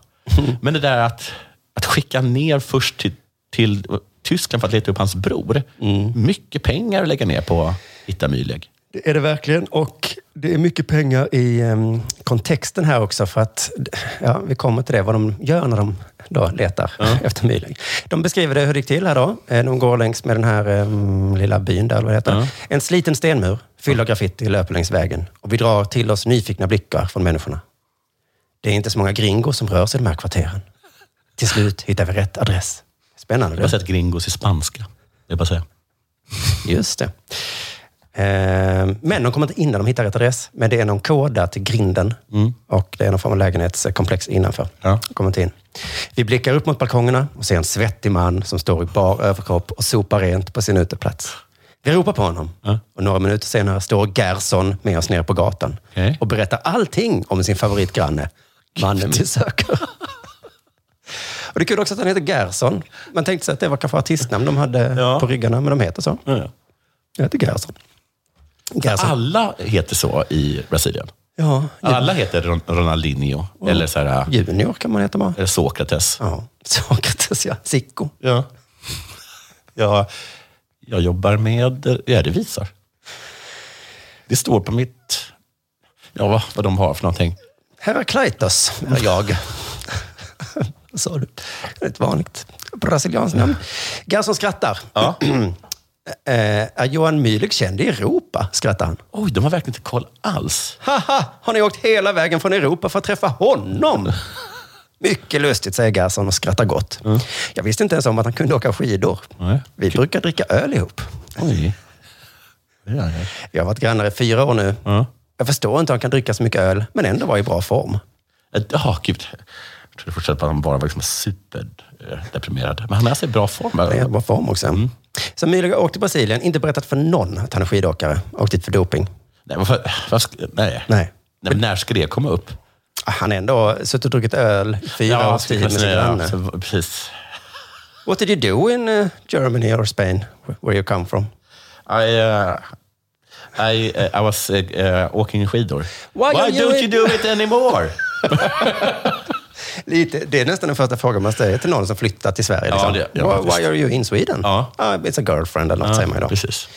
[SPEAKER 6] Men det där att, att skicka ner först till, till Tyskland för att leta upp hans bror.
[SPEAKER 7] Mm.
[SPEAKER 6] Mycket pengar att lägga ner på att hitta Mühlegg.
[SPEAKER 7] Det är det verkligen. Och det är mycket pengar i em, kontexten här också. För att, ja, vi kommer till det, vad de gör när de då letar efter Myhlegg. De beskriver det hur det gick till här då. Eh, De går längs med den här em, lilla byn där, eller vad det heter. En sliten stenmur, fylld av graffiti, löper längs vägen. Och vi drar till oss nyfikna blickar från människorna. Det är inte så många gringor som rör sig i de här kvarteren. Till slut hittar vi rätt adress. Spännande.
[SPEAKER 6] Jag har sett gringos i spanska. Det är bara att säga.
[SPEAKER 7] Just det. Eh, Men de kommer inte in när de hittar rätt adress. Men det är någon kod där till grinden. Och det är någon form av lägenhetskomplex innanför.
[SPEAKER 6] Mm. Ja.
[SPEAKER 7] Kommer inte in. Vi blickar upp mot balkongerna och ser en svettig man som står i bar överkropp och sopar rent på sin uteplats. Vi ropar på honom. Och några minuter senare står Gerson med oss nere på gatan.
[SPEAKER 6] Okej.
[SPEAKER 7] Och berättar allting om sin favoritgranne. Mannen vi söker. Och det är kul också att han heter Gerson. Man tänkte sig att det var kanske artistnamn de hade
[SPEAKER 6] Ja.
[SPEAKER 7] på ryggarna, men de heter så. Jag heter Gerson.
[SPEAKER 6] Alltså,
[SPEAKER 7] Gerson.
[SPEAKER 6] Alla heter så i Brasilien.
[SPEAKER 7] ja,
[SPEAKER 6] Alla heter Ron- Ronaldinho, eller så här,
[SPEAKER 7] junior kan man heta bara.
[SPEAKER 6] eller Sokrates.
[SPEAKER 7] Ja, Sokrates ja. Sicko.
[SPEAKER 6] Ja. Jag, jag jobbar med ja, det visar. Det står på mitt... Ja, vad, vad de har för någonting.
[SPEAKER 7] Herakleitos är jag. Vad sa du? Det är Ett vanligt brasilianskt namn. Gerson skrattar.
[SPEAKER 6] Ja.
[SPEAKER 7] Eh, är Johan Myhlegg känd i Europa? skrattar han.
[SPEAKER 6] Oj, de har verkligen inte koll alls.
[SPEAKER 7] Haha, har ni åkt hela vägen från Europa för att träffa honom? Mycket lustigt, säger Gerson och skrattar gott. Jag visste inte ens om att han kunde åka skidor.
[SPEAKER 6] Mm. Nej.
[SPEAKER 7] Vi brukar dricka öl ihop.
[SPEAKER 6] Oj. Ja, ja.
[SPEAKER 7] Jag har varit grannar i fyra år nu.
[SPEAKER 6] Ja.
[SPEAKER 7] Jag förstår inte hur han kan dricka så mycket öl, men ändå vara i bra form.
[SPEAKER 6] Ett- Ja, gud. Jag trodde fortfarande att han bara var liksom superdeprimerad. Men han är alltså i bra
[SPEAKER 7] Han är i
[SPEAKER 6] form.
[SPEAKER 7] bra form också. Så Myhlegg har åkt till Brasilien, inte berättat för någon att han är skidåkare. Åkt dit för doping.
[SPEAKER 6] Nej, varför, vad ska, nej.
[SPEAKER 7] Nej.
[SPEAKER 6] nej men när ska det komma upp?
[SPEAKER 7] Ah, Han har ändå suttit och druckit öl i fyra års
[SPEAKER 6] skulle
[SPEAKER 7] tid
[SPEAKER 6] kunna
[SPEAKER 7] med sin
[SPEAKER 6] säga,
[SPEAKER 7] granne.
[SPEAKER 6] så- precis.
[SPEAKER 7] What did you do in eh, Germany or Spain, wh- where you come from?
[SPEAKER 6] I, uh, I, uh, I was uh, uh, åking skidor.
[SPEAKER 7] Why are you
[SPEAKER 6] don't
[SPEAKER 7] in-
[SPEAKER 6] you do it anymore?
[SPEAKER 7] Lite, det är nästan den första frågan man ställer till någon som flyttat till Sverige.
[SPEAKER 6] Ja,
[SPEAKER 7] Liksom.
[SPEAKER 6] det- ja,
[SPEAKER 7] why,
[SPEAKER 6] faktiskt.
[SPEAKER 7] why are you in Sweden?
[SPEAKER 6] Ja.
[SPEAKER 7] Ah, it's a girlfriend eller något, säger man ju då.
[SPEAKER 6] Precis.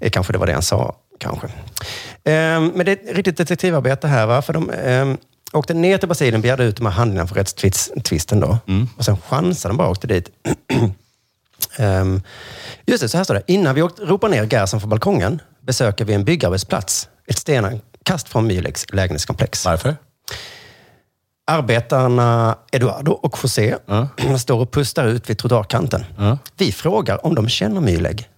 [SPEAKER 7] Eh, Kanske det var det han sa. Kanske. Ehm, men det är ett riktigt detektivarbete här. Va? För de ehm, åkte ner till Brasilien,
[SPEAKER 6] Mm.
[SPEAKER 7] begärde ut de här handlingarna för rättstvisten. Då. Och sen chansade de bara och åkte dit. Ehm, just det, så här står det. Innan vi åkt, ropar ner gasen från balkongen besöker vi en byggarbetsplats ett stenkast från Mylex lägenhetskomplex.
[SPEAKER 6] Varför?
[SPEAKER 7] Arbetarna Eduardo och José står och pustar ut vid trottoarkanten. Vi frågar om de känner Myleg.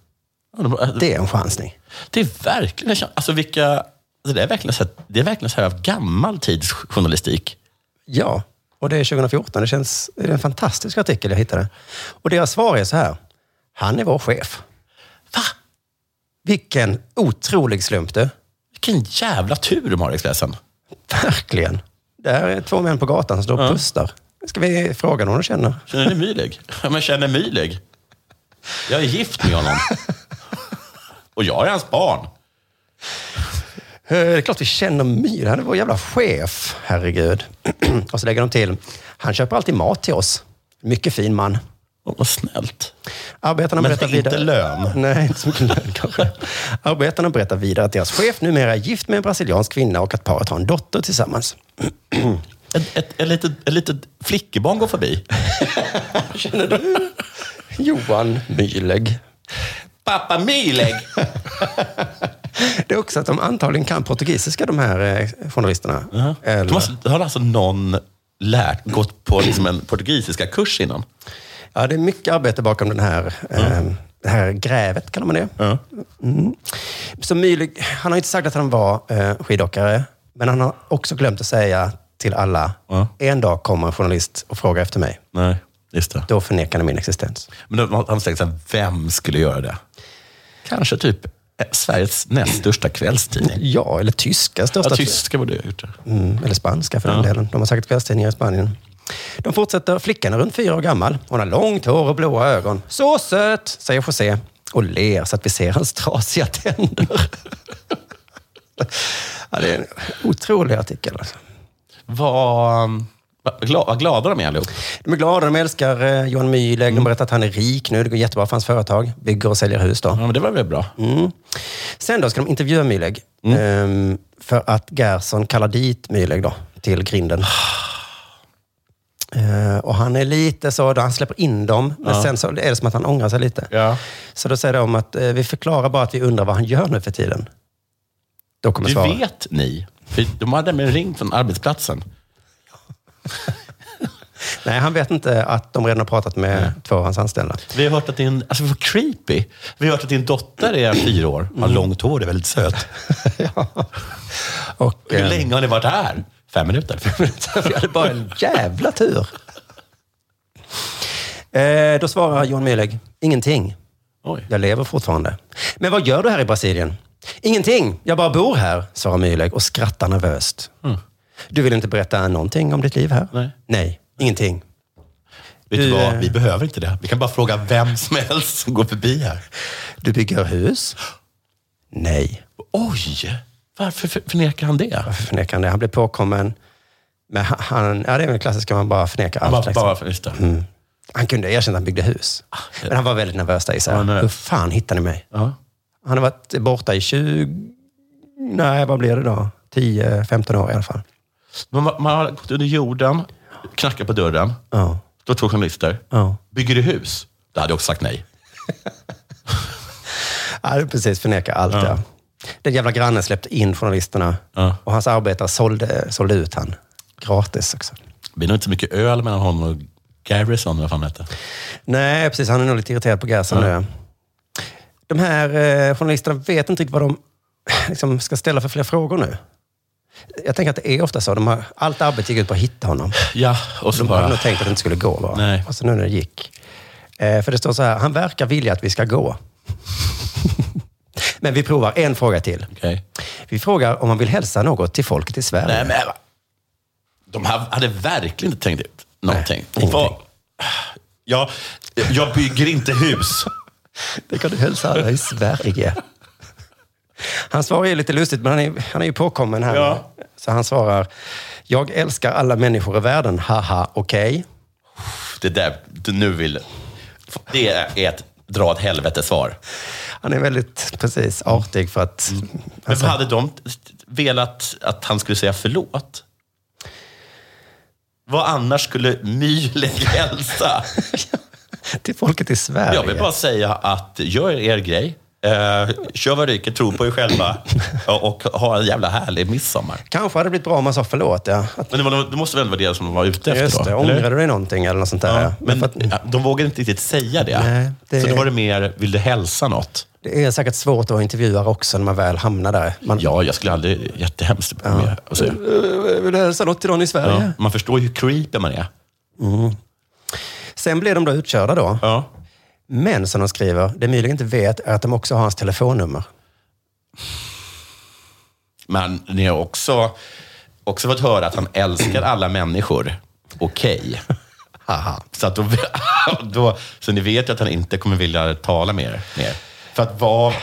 [SPEAKER 7] Det är en chansning.
[SPEAKER 6] Det är verkligen... Alltså vilka... Det, där är verkligen så här, det är verkligen så här av gammal tids journalistik.
[SPEAKER 7] Ja, och det är 2014. Det, känns, det är en fantastisk artikel jag hittade. Och deras svar är så här. Han är vår chef. Va? Vilken otrolig slump du.
[SPEAKER 6] Vilken jävla tur de har i Expressen.
[SPEAKER 7] Verkligen. Där är två män på gatan som står och pustar. Ska vi fråga någon de känner?
[SPEAKER 6] Känner ni Myleg? Ja, men känner Myleg? Jag är gift med honom. Och jag är hans barn.
[SPEAKER 7] Eh, Det är klart vi känner Myhr. Han är vår jävla chef. Herregud. och så lägger de till. Han köper alltid mat till oss. Mycket fin man.
[SPEAKER 6] Oh, vad snällt.
[SPEAKER 7] Arbetarna
[SPEAKER 6] Men
[SPEAKER 7] berättar
[SPEAKER 6] inte
[SPEAKER 7] vidare...
[SPEAKER 6] lön.
[SPEAKER 7] Nej, inte så mycket lön kanske. Arbetarna berättar vidare att deras chef numera är gift med en brasiliansk kvinna och att paret har en dotter tillsammans.
[SPEAKER 6] Ett, ett, ett, litet, ett litet flickebarn går förbi.
[SPEAKER 7] Känner du Johan Myhlegg?
[SPEAKER 6] Pappa Myleg!
[SPEAKER 7] Det är också att de antagligen kan portugisiska, de här eh, journalisterna. Eller-
[SPEAKER 6] De har, har alltså någon lärt, gått på liksom en portugisiska kurs innan?
[SPEAKER 7] Ja, det är mycket arbete bakom den här, eh, det här grävet, kallar man det. Mm. Så Myhlig, han har inte sagt att han var eh, skidåkare, men han har också glömt att säga till alla, en dag kommer en journalist och frågar efter mig.
[SPEAKER 6] Nej, just det.
[SPEAKER 7] Då förnekar ni min existens.
[SPEAKER 6] Men då, han har tänkt så här, vem skulle göra det? Kanske typ eh, Sveriges näst största kvällstidning.
[SPEAKER 7] Ja, eller tyska största...
[SPEAKER 6] Ja, tyska borde jag ha gjort det.
[SPEAKER 7] Mm, eller spanska för den delen. De har säkert kvällstidningar i Spanien. De fortsätter. Flickan är runt fyra år gammal. Hon har långt hår och blåa ögon. Så söt, säger José och ler så att vi ser hans trasiga tänder. ja, det är en otrolig artikel. Alltså.
[SPEAKER 6] Vad vad gla, vad glada de är allihop.
[SPEAKER 7] De är glada, de älskar eh, Johan Myhlegg. De berättar att han är rik nu. Det går jättebra för hans företag. Bygger och säljer hus då.
[SPEAKER 6] Ja, men det var väl bra.
[SPEAKER 7] Mm. Sen då ska de intervjua Myhlegg.
[SPEAKER 6] Mm.
[SPEAKER 7] ehm, för att Gerson kallar dit Myhlegg då, till grinden. Eh, och han är lite så, då han släpper in dem, men sen så är det som att han ångrar sig lite.
[SPEAKER 6] Ja.
[SPEAKER 7] Så då säger de att eh, vi förklarar bara att vi undrar vad han gör nu för tiden. Då kommer
[SPEAKER 6] Det
[SPEAKER 7] svaret.
[SPEAKER 6] vet ni. För de hade nämligen ringt från arbetsplatsen.
[SPEAKER 7] Nej, han vet inte att de redan har pratat med två av hans anställda.
[SPEAKER 6] Vi har hört att din, alltså vad creepy. Vi har hört att din dotter är fyra år, har långt hår, är väldigt söt.
[SPEAKER 7] ja. och,
[SPEAKER 6] Hur
[SPEAKER 7] ehm,
[SPEAKER 6] länge har ni varit här? Fem minuter.
[SPEAKER 7] Vi hade bara en jävla tur. Eh, då svarar John Myhlegg, ingenting.
[SPEAKER 6] Oj.
[SPEAKER 7] Jag lever fortfarande. Men vad gör du här i Brasilien? Ingenting, jag bara bor här, svarar Myhlegg och skrattar nervöst. Du vill inte berätta någonting om ditt liv här?
[SPEAKER 6] Mm. Nej.
[SPEAKER 7] Nej, ingenting.
[SPEAKER 6] Vet du
[SPEAKER 7] Du,
[SPEAKER 6] vad,
[SPEAKER 7] eh,
[SPEAKER 6] vi behöver inte det. Vi kan bara fråga vem som helst som går förbi här.
[SPEAKER 7] Du bygger hus? Nej.
[SPEAKER 6] Oj! Varför för- förnekar han det?
[SPEAKER 7] Varför förnekar han det? Han blev påkommen. Men han- han, ja, det är väl klassiskt, man bara förnekar allt.
[SPEAKER 6] Bara,
[SPEAKER 7] liksom.
[SPEAKER 6] bara för, just det.
[SPEAKER 7] Han kunde erkänna att han byggde hus. Men han var väldigt nervös där i sig.
[SPEAKER 6] Ja, nej.
[SPEAKER 7] Hur fan hittade ni mig?
[SPEAKER 6] Ja.
[SPEAKER 7] Han har varit borta i 20... Nej, vad blir det då? 10-15 år i alla fall.
[SPEAKER 6] Man, man har gått under jorden, knackat på dörren.
[SPEAKER 7] Ja.
[SPEAKER 6] Det var två journalister.
[SPEAKER 7] Ja.
[SPEAKER 6] Bygger du hus? Det hade jag också sagt nej.
[SPEAKER 7] Ja, du precis förnekar allt. Ja. Den jävla grannen släppte in journalisterna
[SPEAKER 6] Ja.
[SPEAKER 7] och hans arbetare sålde, sålde ut han. Gratis också.
[SPEAKER 6] Det blir nog inte så mycket öl mellan honom och Garrison, vad fan han hette.
[SPEAKER 7] Nej, precis. Han är nog lite irriterad på Gerson nu. De här eh, journalisterna vet inte riktigt vad de liksom, ska ställa för fler frågor nu. Jag tänker att det är ofta så. De har, allt arbete gick ut på att hitta honom.
[SPEAKER 6] Ja, och så
[SPEAKER 7] De hade
[SPEAKER 6] bara...
[SPEAKER 7] nog tänkt att det inte skulle gå. Va?
[SPEAKER 6] Nej.
[SPEAKER 7] Och så nu när det gick. Eh, för det står så här, han verkar vilja att vi ska gå. men vi provar en fråga till.
[SPEAKER 6] Okej.
[SPEAKER 7] Vi frågar om man vill hälsa något till folket i Sverige.
[SPEAKER 6] Nej, men... De här hade verkligen inte tänkt ut någonting.
[SPEAKER 7] Nej, ingenting.
[SPEAKER 6] Vad- Ja, jag bygger inte hus.
[SPEAKER 7] Det kan du hälsa alla i Sverige. Hans svar är lite lustigt, men han är, han är ju påkommen här.
[SPEAKER 6] Ja.
[SPEAKER 7] Så han svarar, jag älskar alla människor i världen, haha, okej.
[SPEAKER 6] Det där du nu vill... Det är ett dra åt helvete-svar.
[SPEAKER 7] Han är väldigt, precis, artig för att...
[SPEAKER 6] Mm. Men
[SPEAKER 7] alltså-
[SPEAKER 6] hade de velat att han skulle säga förlåt? Vad annars skulle Myhlegg hälsa?
[SPEAKER 7] till folket i Sverige.
[SPEAKER 6] Jag vill bara säga att gör er grej. Eh, kör vad ryker, tro på er själva och, och ha en jävla härlig midsommar.
[SPEAKER 7] Kanske hade det blivit bra om man sa förlåt, ja.
[SPEAKER 6] Men det, var, det måste väl vara det som de var ute efter?
[SPEAKER 7] Just det,
[SPEAKER 6] då,
[SPEAKER 7] ångrar
[SPEAKER 6] eller?
[SPEAKER 7] du dig någonting eller något sånt där?
[SPEAKER 6] Ja, men ja, de vågade inte riktigt säga det.
[SPEAKER 7] Nej, det
[SPEAKER 6] Så då
[SPEAKER 7] är-
[SPEAKER 6] var det mer, vill du hälsa något?
[SPEAKER 7] Det är säkert svårt att intervjua också när man väl hamnar där. Man,
[SPEAKER 6] Ja, jag skulle aldrig... Jättehemskt. Ja. Alltså,
[SPEAKER 7] "Eh, Vill du hälsa något till någon i
[SPEAKER 6] ja,
[SPEAKER 7] Sverige?
[SPEAKER 6] man förstår ju hur creepy man är.
[SPEAKER 7] Mm. Sen blir de då utkörda då. Men som de skriver, det Myhlegg inte vet är att de också har hans telefonnummer.
[SPEAKER 6] Men ni har också, också fått höra att han älskar alla människor. Okej. Haha. Så, att då, då, så ni vet ju att han inte kommer vilja tala med er. Mer. För att vad,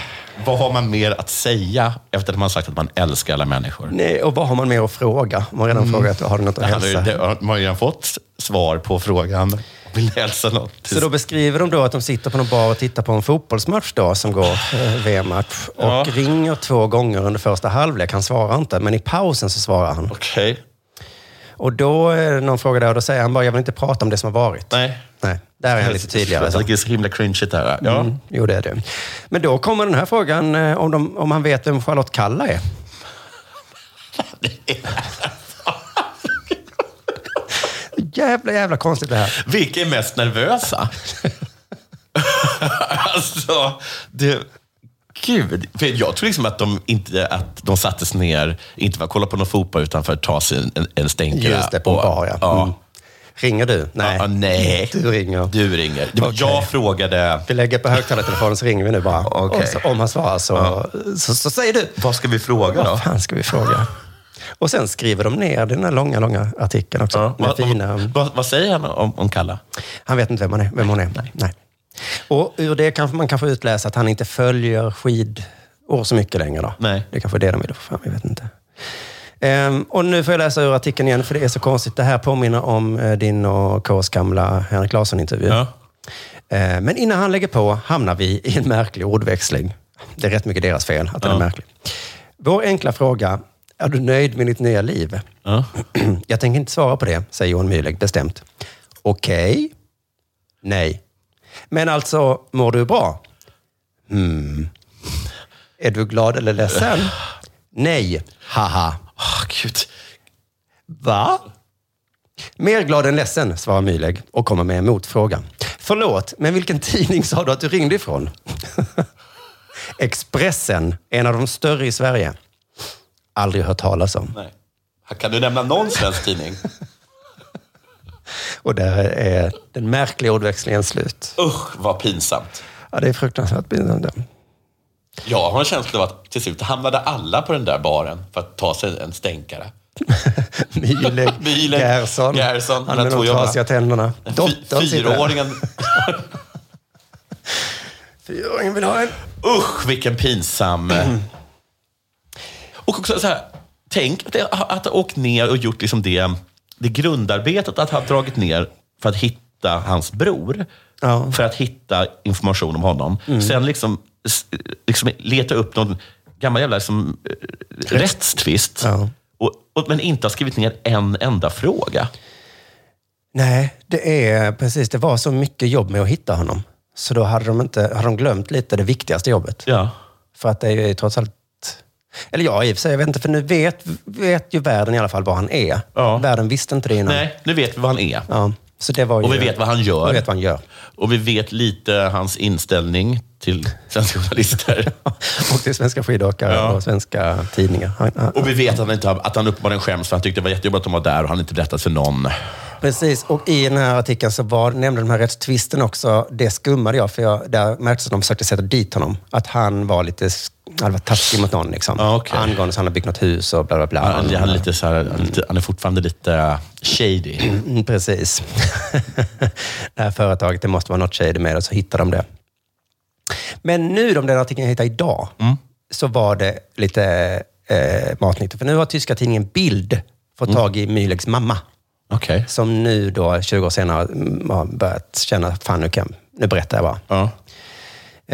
[SPEAKER 6] vad har man mer att säga efter att man har sagt att man älskar alla människor?
[SPEAKER 7] Nej, och vad har man mer att fråga? Man har redan frågat, har du något att
[SPEAKER 6] Han har ju-
[SPEAKER 7] hälsa?
[SPEAKER 6] Mm. det har- Man har ju redan fått svar på frågan, vill du hälsa något?
[SPEAKER 7] Så då beskriver de då att de sitter på någon bar och tittar på en fotbollsmatch då, som går eh, VM-match. Och
[SPEAKER 6] Ja.
[SPEAKER 7] ringer två gånger under första halvlek. Han svarar inte, men i pausen så svarar han.
[SPEAKER 6] Okej.
[SPEAKER 7] Och då är det någon fråga där och då säger han bara, jag vill inte prata om det som har varit.
[SPEAKER 6] Nej. Alltså,
[SPEAKER 7] Nej, där är han lite tydligare.
[SPEAKER 6] Jag tycker det är så himla cringeigt det här. Ja.
[SPEAKER 7] Mm, jo, det är det. Men då kommer den här frågan eh, om, de, om han vet vem Charlotte Kalla är. jävla, jävla konstigt det här.
[SPEAKER 6] Vilka är mest nervösa? alltså, det... Gud. För jag tror liksom att de, inte, att de sattes ner, inte för att kolla på någon fotboll, utan för att ta sig en, en stänkare.
[SPEAKER 7] Just det, på en
[SPEAKER 6] Och-
[SPEAKER 7] bar, ja. Mm. Ringer du? Nej.
[SPEAKER 6] Ja, nej.
[SPEAKER 7] Du ringer.
[SPEAKER 6] Du ringer. Det var,
[SPEAKER 7] Okej.
[SPEAKER 6] Jag frågade...
[SPEAKER 7] Vi lägger på högtalartelefonen så ringer vi nu bara.
[SPEAKER 6] Okej.
[SPEAKER 7] Och så, om han svarar så, så, så säger du.
[SPEAKER 6] Vad ska vi fråga då?
[SPEAKER 7] Vad fan ska vi fråga? Och sen skriver de ner den här långa, långa artikeln också. med
[SPEAKER 6] Vad,
[SPEAKER 7] fina...
[SPEAKER 6] vad, vad, vad säger han om, om Kalla?
[SPEAKER 7] Han vet inte vem, han är, vem hon är. Nej. Och ur det kan man kanske utläsa att han inte följer skidår så mycket längre. Då.
[SPEAKER 6] Nej.
[SPEAKER 7] Det är kanske är det de vill få fram, jag vet inte. Ehm, och nu får jag läsa ur artikeln igen, för det är så konstigt. Det här påminner om eh, din och Ks gamla Henrik Larsson-intervju.
[SPEAKER 6] Ja.
[SPEAKER 7] Ehm, men innan han lägger på hamnar vi i en märklig ordväxling. Det är rätt mycket deras fel att den är märklig. Vår enkla fråga, är du nöjd med ditt nya liv?
[SPEAKER 6] Ja.
[SPEAKER 7] Jag tänker inte svara på det, säger Johan Myhlegg bestämt. Okej. Nej. Men alltså, mår du bra? Hmm. Är du glad eller ledsen? Nej. Haha.
[SPEAKER 6] Ah, Gud.
[SPEAKER 7] Va? Mer glad än ledsen, svarar Myhlegg och kommer med en motfråga. Förlåt, men vilken tidning sa du att du ringde ifrån? Expressen, en av de större i Sverige. Aldrig hört talas om.
[SPEAKER 6] Nej. Kan du nämna någon svensk tidning?
[SPEAKER 7] Och där är den märkliga ordväxlingen slut.
[SPEAKER 6] Usch, vad pinsamt.
[SPEAKER 7] Ja, det är fruktansvärt pinsamt.
[SPEAKER 6] Jag har en känsla av att till slut hamnade alla på den där baren för att ta sig en stänkare.
[SPEAKER 7] Myhlegg,
[SPEAKER 6] Myhlegg,
[SPEAKER 7] Gerson,
[SPEAKER 6] Gerson,
[SPEAKER 7] han
[SPEAKER 6] de
[SPEAKER 7] med
[SPEAKER 6] två
[SPEAKER 7] de
[SPEAKER 6] jobbarna.
[SPEAKER 7] trasiga tänderna. Dottern
[SPEAKER 6] Fy,
[SPEAKER 7] sitter där.
[SPEAKER 6] fyraåringen.
[SPEAKER 7] Fyraåringen vill ha en.
[SPEAKER 6] Usch, vilken pinsam... Och också så här, tänk att jag- att ha åkt ner och gjort liksom det, det grundarbetet, att ha dragit ner för att hitta hans bror.
[SPEAKER 7] Ja. Mm.
[SPEAKER 6] För att hitta information om honom. Sen liksom, s- liksom leta upp någon gammal jävla liksom, eh, rättstvist.
[SPEAKER 7] Ja.
[SPEAKER 6] Och, och, men inte ha skrivit ner en enda fråga.
[SPEAKER 7] Nej, det är precis. Det var så mycket jobb med att hitta honom. Så då hade de, inte, hade de glömt lite det viktigaste jobbet.
[SPEAKER 6] Ja.
[SPEAKER 7] För att det är ju trots allt... Eller ja, i och för sig, jag vet inte. För nu vet, vet ju världen i alla fall vad han är.
[SPEAKER 6] Ja.
[SPEAKER 7] Världen visste inte det innan.
[SPEAKER 6] Nej, nu vet vi vad han är.
[SPEAKER 7] Ja, så det var ju,
[SPEAKER 6] Och vi vet vad han gör.
[SPEAKER 7] Och vi vet vad han gör.
[SPEAKER 6] Och vi vet lite hans inställning till svenska journalister.
[SPEAKER 7] Och till svenska skidåkare
[SPEAKER 6] Ja.
[SPEAKER 7] och svenska tidningar. Han, han,
[SPEAKER 6] Och vi vet att han, inte, har- att han uppenbarligen skäms för han tyckte det var jättejobbigt att de var där och han inte berättat för någon.
[SPEAKER 7] Precis, och i den här artikeln så var nämligen den här rättstvisten också, det skummade jag, för jag, där märktes att de försökte sätta dit honom. Att han var lite, sk- han var taskig mot någon liksom.
[SPEAKER 6] Ja, okej.
[SPEAKER 7] Angående så han har byggt något hus och bla bla bla.
[SPEAKER 6] Han, han, är lite så här, han, är lite, han är fortfarande lite eh, shady.
[SPEAKER 7] Mm, precis. det här företaget, det måste vara något shady med det, så hittar de det. Men nu, de den artikeln jag hittade idag, så var det lite eh, matnyttigt. För nu har tyska tidningen Bild fått tag i Myhleggs mamma.
[SPEAKER 6] Okej.
[SPEAKER 7] Som nu då, 20 år senare, mm, har börjat känna, fan nu, kan, nu berättar jag bara.
[SPEAKER 6] Ja.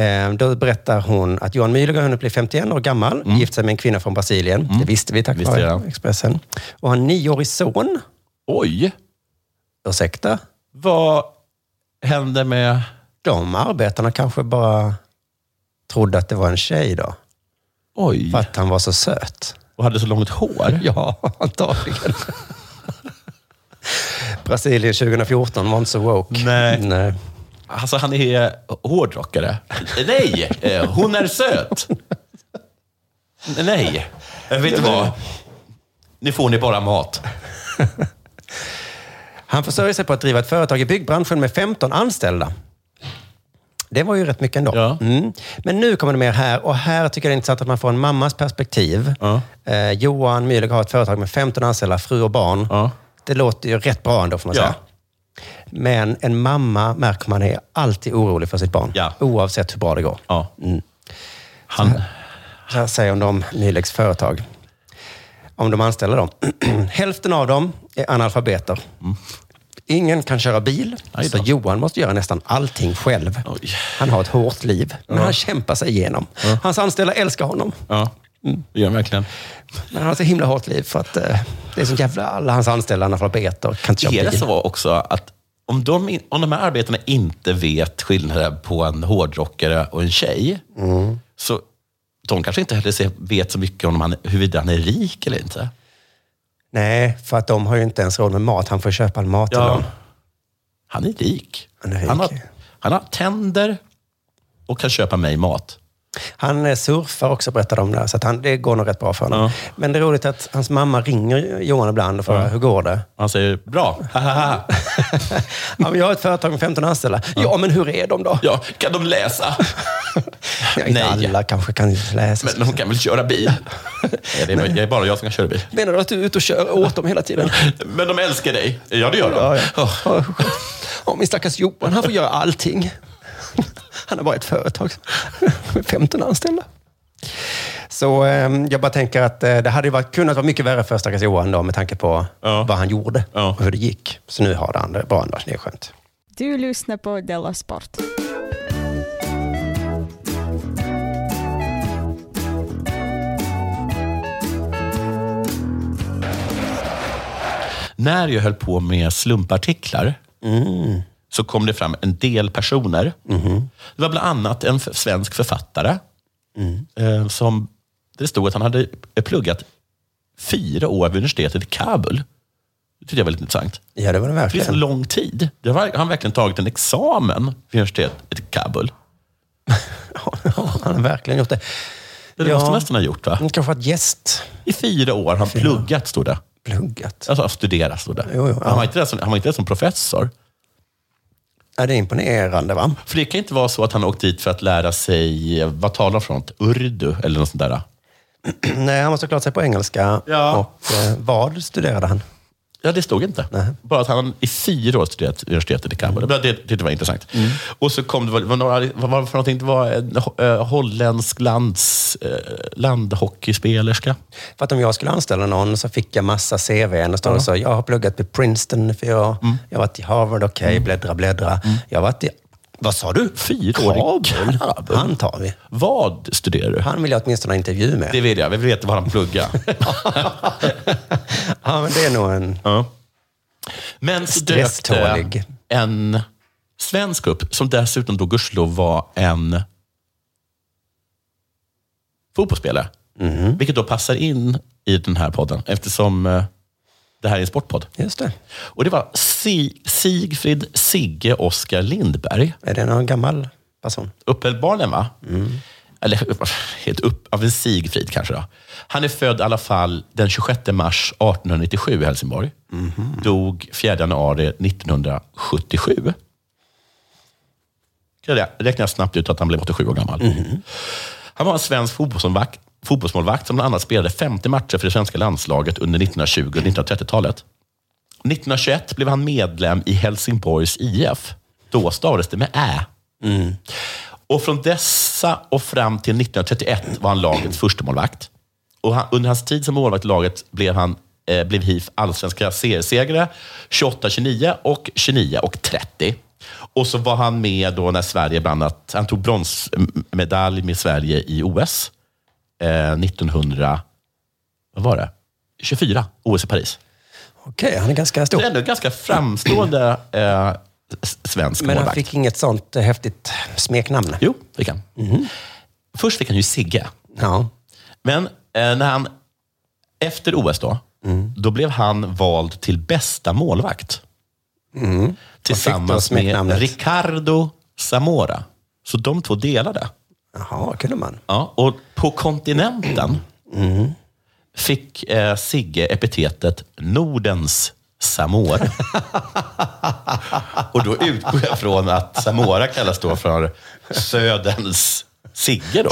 [SPEAKER 7] Eh, Då berättar hon att Johan Myhlegg har hunnit bli 51 år gammal, gift sig med en kvinna från Brasilien. Det visste vi tack
[SPEAKER 6] Mm. Visste
[SPEAKER 7] vare
[SPEAKER 6] jag.
[SPEAKER 7] Expressen. Och har en nioårig son.
[SPEAKER 6] Oj!
[SPEAKER 7] Ursäkta?
[SPEAKER 6] Vad händer med...
[SPEAKER 7] De arbetarna kanske bara trodde att det var en tjej då.
[SPEAKER 6] Oj.
[SPEAKER 7] För att han var så söt.
[SPEAKER 6] Och hade så långt hår?
[SPEAKER 7] ja, antagligen. Brasilien 2014 var inte så woke.
[SPEAKER 6] Nej. Alltså, han är hårdrockare. Nej, eh, hon är söt. Nej, Eh, vet du vad? Nu får ni bara mat.
[SPEAKER 7] Han försörjer sig på att driva ett företag i byggbranschen med 15 anställda. Det var ju rätt mycket ändå. Mm. Men nu kommer det mer här och här tycker jag det är intressant att man får en mammas perspektiv. Eh, Johan Myhlegg har ett företag med 15 anställda, fru och barn. Det låter ju rätt bra ändå får man
[SPEAKER 6] Ja.
[SPEAKER 7] säga. Men en mamma märker man är alltid orolig för sitt barn. Oavsett hur bra det går. Mm. Han... Så här, så här säger hon om Myhleggs företag. Om de anställer dem. Hälften av dem är analfabeter. Ingen kan köra bil, så Johan måste göra nästan allting själv. Han har ett hårt liv, men han kämpar sig igenom. Hans anställda älskar honom.
[SPEAKER 6] Ja, Mm. det gör han verkligen.
[SPEAKER 7] Men han har så himla hårt liv för att eh, det är som jävla alla hans anställda analfabeter kan inte köra
[SPEAKER 6] Är det
[SPEAKER 7] bil.
[SPEAKER 6] så också att om de, in- om de här arbetarna inte vet skillnaden på en hårdrockare och en tjej,
[SPEAKER 7] Mm.
[SPEAKER 6] så de kanske inte heller ser- vet så mycket om han, huruvida han är rik eller inte.
[SPEAKER 7] Nej, för att de har ju inte ens råd med mat. Han får köpa all mat till
[SPEAKER 6] Ja.
[SPEAKER 7] dem.
[SPEAKER 6] Han är rik.
[SPEAKER 7] Han är rik.
[SPEAKER 6] Han, har, han har tänder och kan köpa mig mat.
[SPEAKER 7] Han eh, surfar också, berättade de där. Så att han, det går nog rätt bra för honom. Men det är roligt att hans mamma ringer Johan ibland och frågar, hur går det?
[SPEAKER 6] Han säger, bra, hahaha.
[SPEAKER 7] ja, men jag har ett företag med 15 anställda. Ja, men hur är de då?
[SPEAKER 6] Ja, kan de läsa?
[SPEAKER 7] Ja, inte
[SPEAKER 6] Nej.
[SPEAKER 7] alla kanske kan läsa.
[SPEAKER 6] Men de kan väl köra bil? Nej, det är, det är bara jag som kan köra bil.
[SPEAKER 7] Menar du att du är ute och kör åt dem hela tiden?
[SPEAKER 6] Men de älskar dig. Ja, det gör de. Åh,
[SPEAKER 7] Ja, min stackars Johan, han får göra allting. Han har bara ett företag med 15 anställda. Så eh, jag bara tänker att eh, det hade ju varit, kunnat vara mycket värre för stackars Johan då, med tanke på vad han gjorde och hur det gick. Så nu har han det bra ändå, det är skönt.
[SPEAKER 13] Du lyssnar på Della Sport.
[SPEAKER 6] När jag höll på med slumpartiklar
[SPEAKER 7] Mm.
[SPEAKER 6] så kom det fram en del personer.
[SPEAKER 7] Mm-hmm.
[SPEAKER 6] Det var bland annat en f- svensk författare
[SPEAKER 7] Mm.
[SPEAKER 6] eh, som det stod att han hade pluggat fyra år vid universitetet i Kabul. Det tyckte jag var lite intressant.
[SPEAKER 7] Ja, det var det
[SPEAKER 6] Det är så
[SPEAKER 7] verkligen.
[SPEAKER 6] lång tid. Det har han har verkligen tagit en examen vid universitetet i Kabul.
[SPEAKER 7] Han har verkligen gjort det.
[SPEAKER 6] Det måste han nästan ha gjort, va?
[SPEAKER 7] Han kanske varit gäst.
[SPEAKER 6] I fyra år har han pluggat, stod det.
[SPEAKER 7] Pluggat.
[SPEAKER 6] Alltså studerat, stod det.
[SPEAKER 7] Jo, jo, ja.
[SPEAKER 6] han, var inte där som, han var inte där som professor.
[SPEAKER 7] Ja, det är imponerande, va?
[SPEAKER 6] För det kan inte vara så att han åkte dit för att lära sig, vad talar för något? Urdu eller något sånt där?
[SPEAKER 7] Nej, han var såklart sig på engelska.
[SPEAKER 6] Ja.
[SPEAKER 7] Och eh, vad studerade han?
[SPEAKER 6] Ja, det stod inte. Bara att han i fyra år studerat vid universitetet i Kabul.
[SPEAKER 7] Mm.
[SPEAKER 6] Det, det tyckte jag var intressant. Och så kom det, var, var några, vad var det för någonting? Det var en eh, holländsk lands, eh, landhockeyspelerska.
[SPEAKER 7] För att om jag skulle anställa någon så fick jag massa CVn och stod och sa, jag har pluggat vid Princeton i fyra år. Jag har varit i Harvard, okej, bläddra, bläddra. Jag har varit i, Mm. vad sa du?
[SPEAKER 6] Fyra år i
[SPEAKER 7] Kabul?
[SPEAKER 6] Kabul?
[SPEAKER 7] Han tar vi.
[SPEAKER 6] Vad studerar du?
[SPEAKER 7] Han vill jag åtminstone ha intervju med.
[SPEAKER 6] Det vill jag. Vi vill veta vad han pluggar.
[SPEAKER 7] Ja, men det är nog en...
[SPEAKER 6] Ja. Men så dök
[SPEAKER 7] Stresstålig.
[SPEAKER 6] det en svensk upp, som dessutom då gudskelov var en fotbollsspelare. Vilket då passar in i den här podden, eftersom eh, det här är en sportpodd.
[SPEAKER 7] Just det.
[SPEAKER 6] Och det var si- Sigfrid Sigge Oskar Lindberg.
[SPEAKER 7] Är det någon gammal person?
[SPEAKER 6] Uppehällbarnen, va? Eller helt upp, av en Sigfrid kanske då. Han är född i alla fall den 26 mars 1897 i Helsingborg. Dog 4 januari 1977. Kan jag räkna snabbt ut att han blev 87 år gammal. Han var en svensk fotbollsmålvakt, fotbollsmålvakt som bland annat spelade 50 matcher för det svenska landslaget under 1920 och 1930-talet. 1921 blev han medlem i Helsingborgs IF. Då stavades det med Ä. Och från dessa och fram till 1931 var han lagets förstemålvakt. Och han, under hans tid som målvakt i laget blev han eh, blev HIF allsvenska seriesegrare 28, 29 och 29 och 30. Och så var han med då när Sverige bland annat, han tog bronsmedalj med Sverige i OS eh, 1900, vad var det? 24, OS i Paris.
[SPEAKER 7] Okej, han är ganska
[SPEAKER 6] Det
[SPEAKER 7] stor.
[SPEAKER 6] är ändå ganska framstående eh, s- svensk
[SPEAKER 7] Men han
[SPEAKER 6] målvakt.
[SPEAKER 7] fick inget sånt eh, häftigt smeknamn?
[SPEAKER 6] Jo, fick han.
[SPEAKER 7] Mhm.
[SPEAKER 6] Först fick han ju Sigge. Men eh, när han, efter OS då, då blev han vald till bästa målvakt. Tillsammans
[SPEAKER 7] Och Mm. fick då
[SPEAKER 6] med
[SPEAKER 7] smeknamnet.
[SPEAKER 6] Ricardo Zamora. Så de två delade.
[SPEAKER 7] Jaha, kunde man.
[SPEAKER 6] Ja, och på kontinenten
[SPEAKER 7] Mm.
[SPEAKER 6] fick eh, Sigge epitetet Nordens Samora. och då utgår jag från att Samora kallas då för Söderns Sigge då.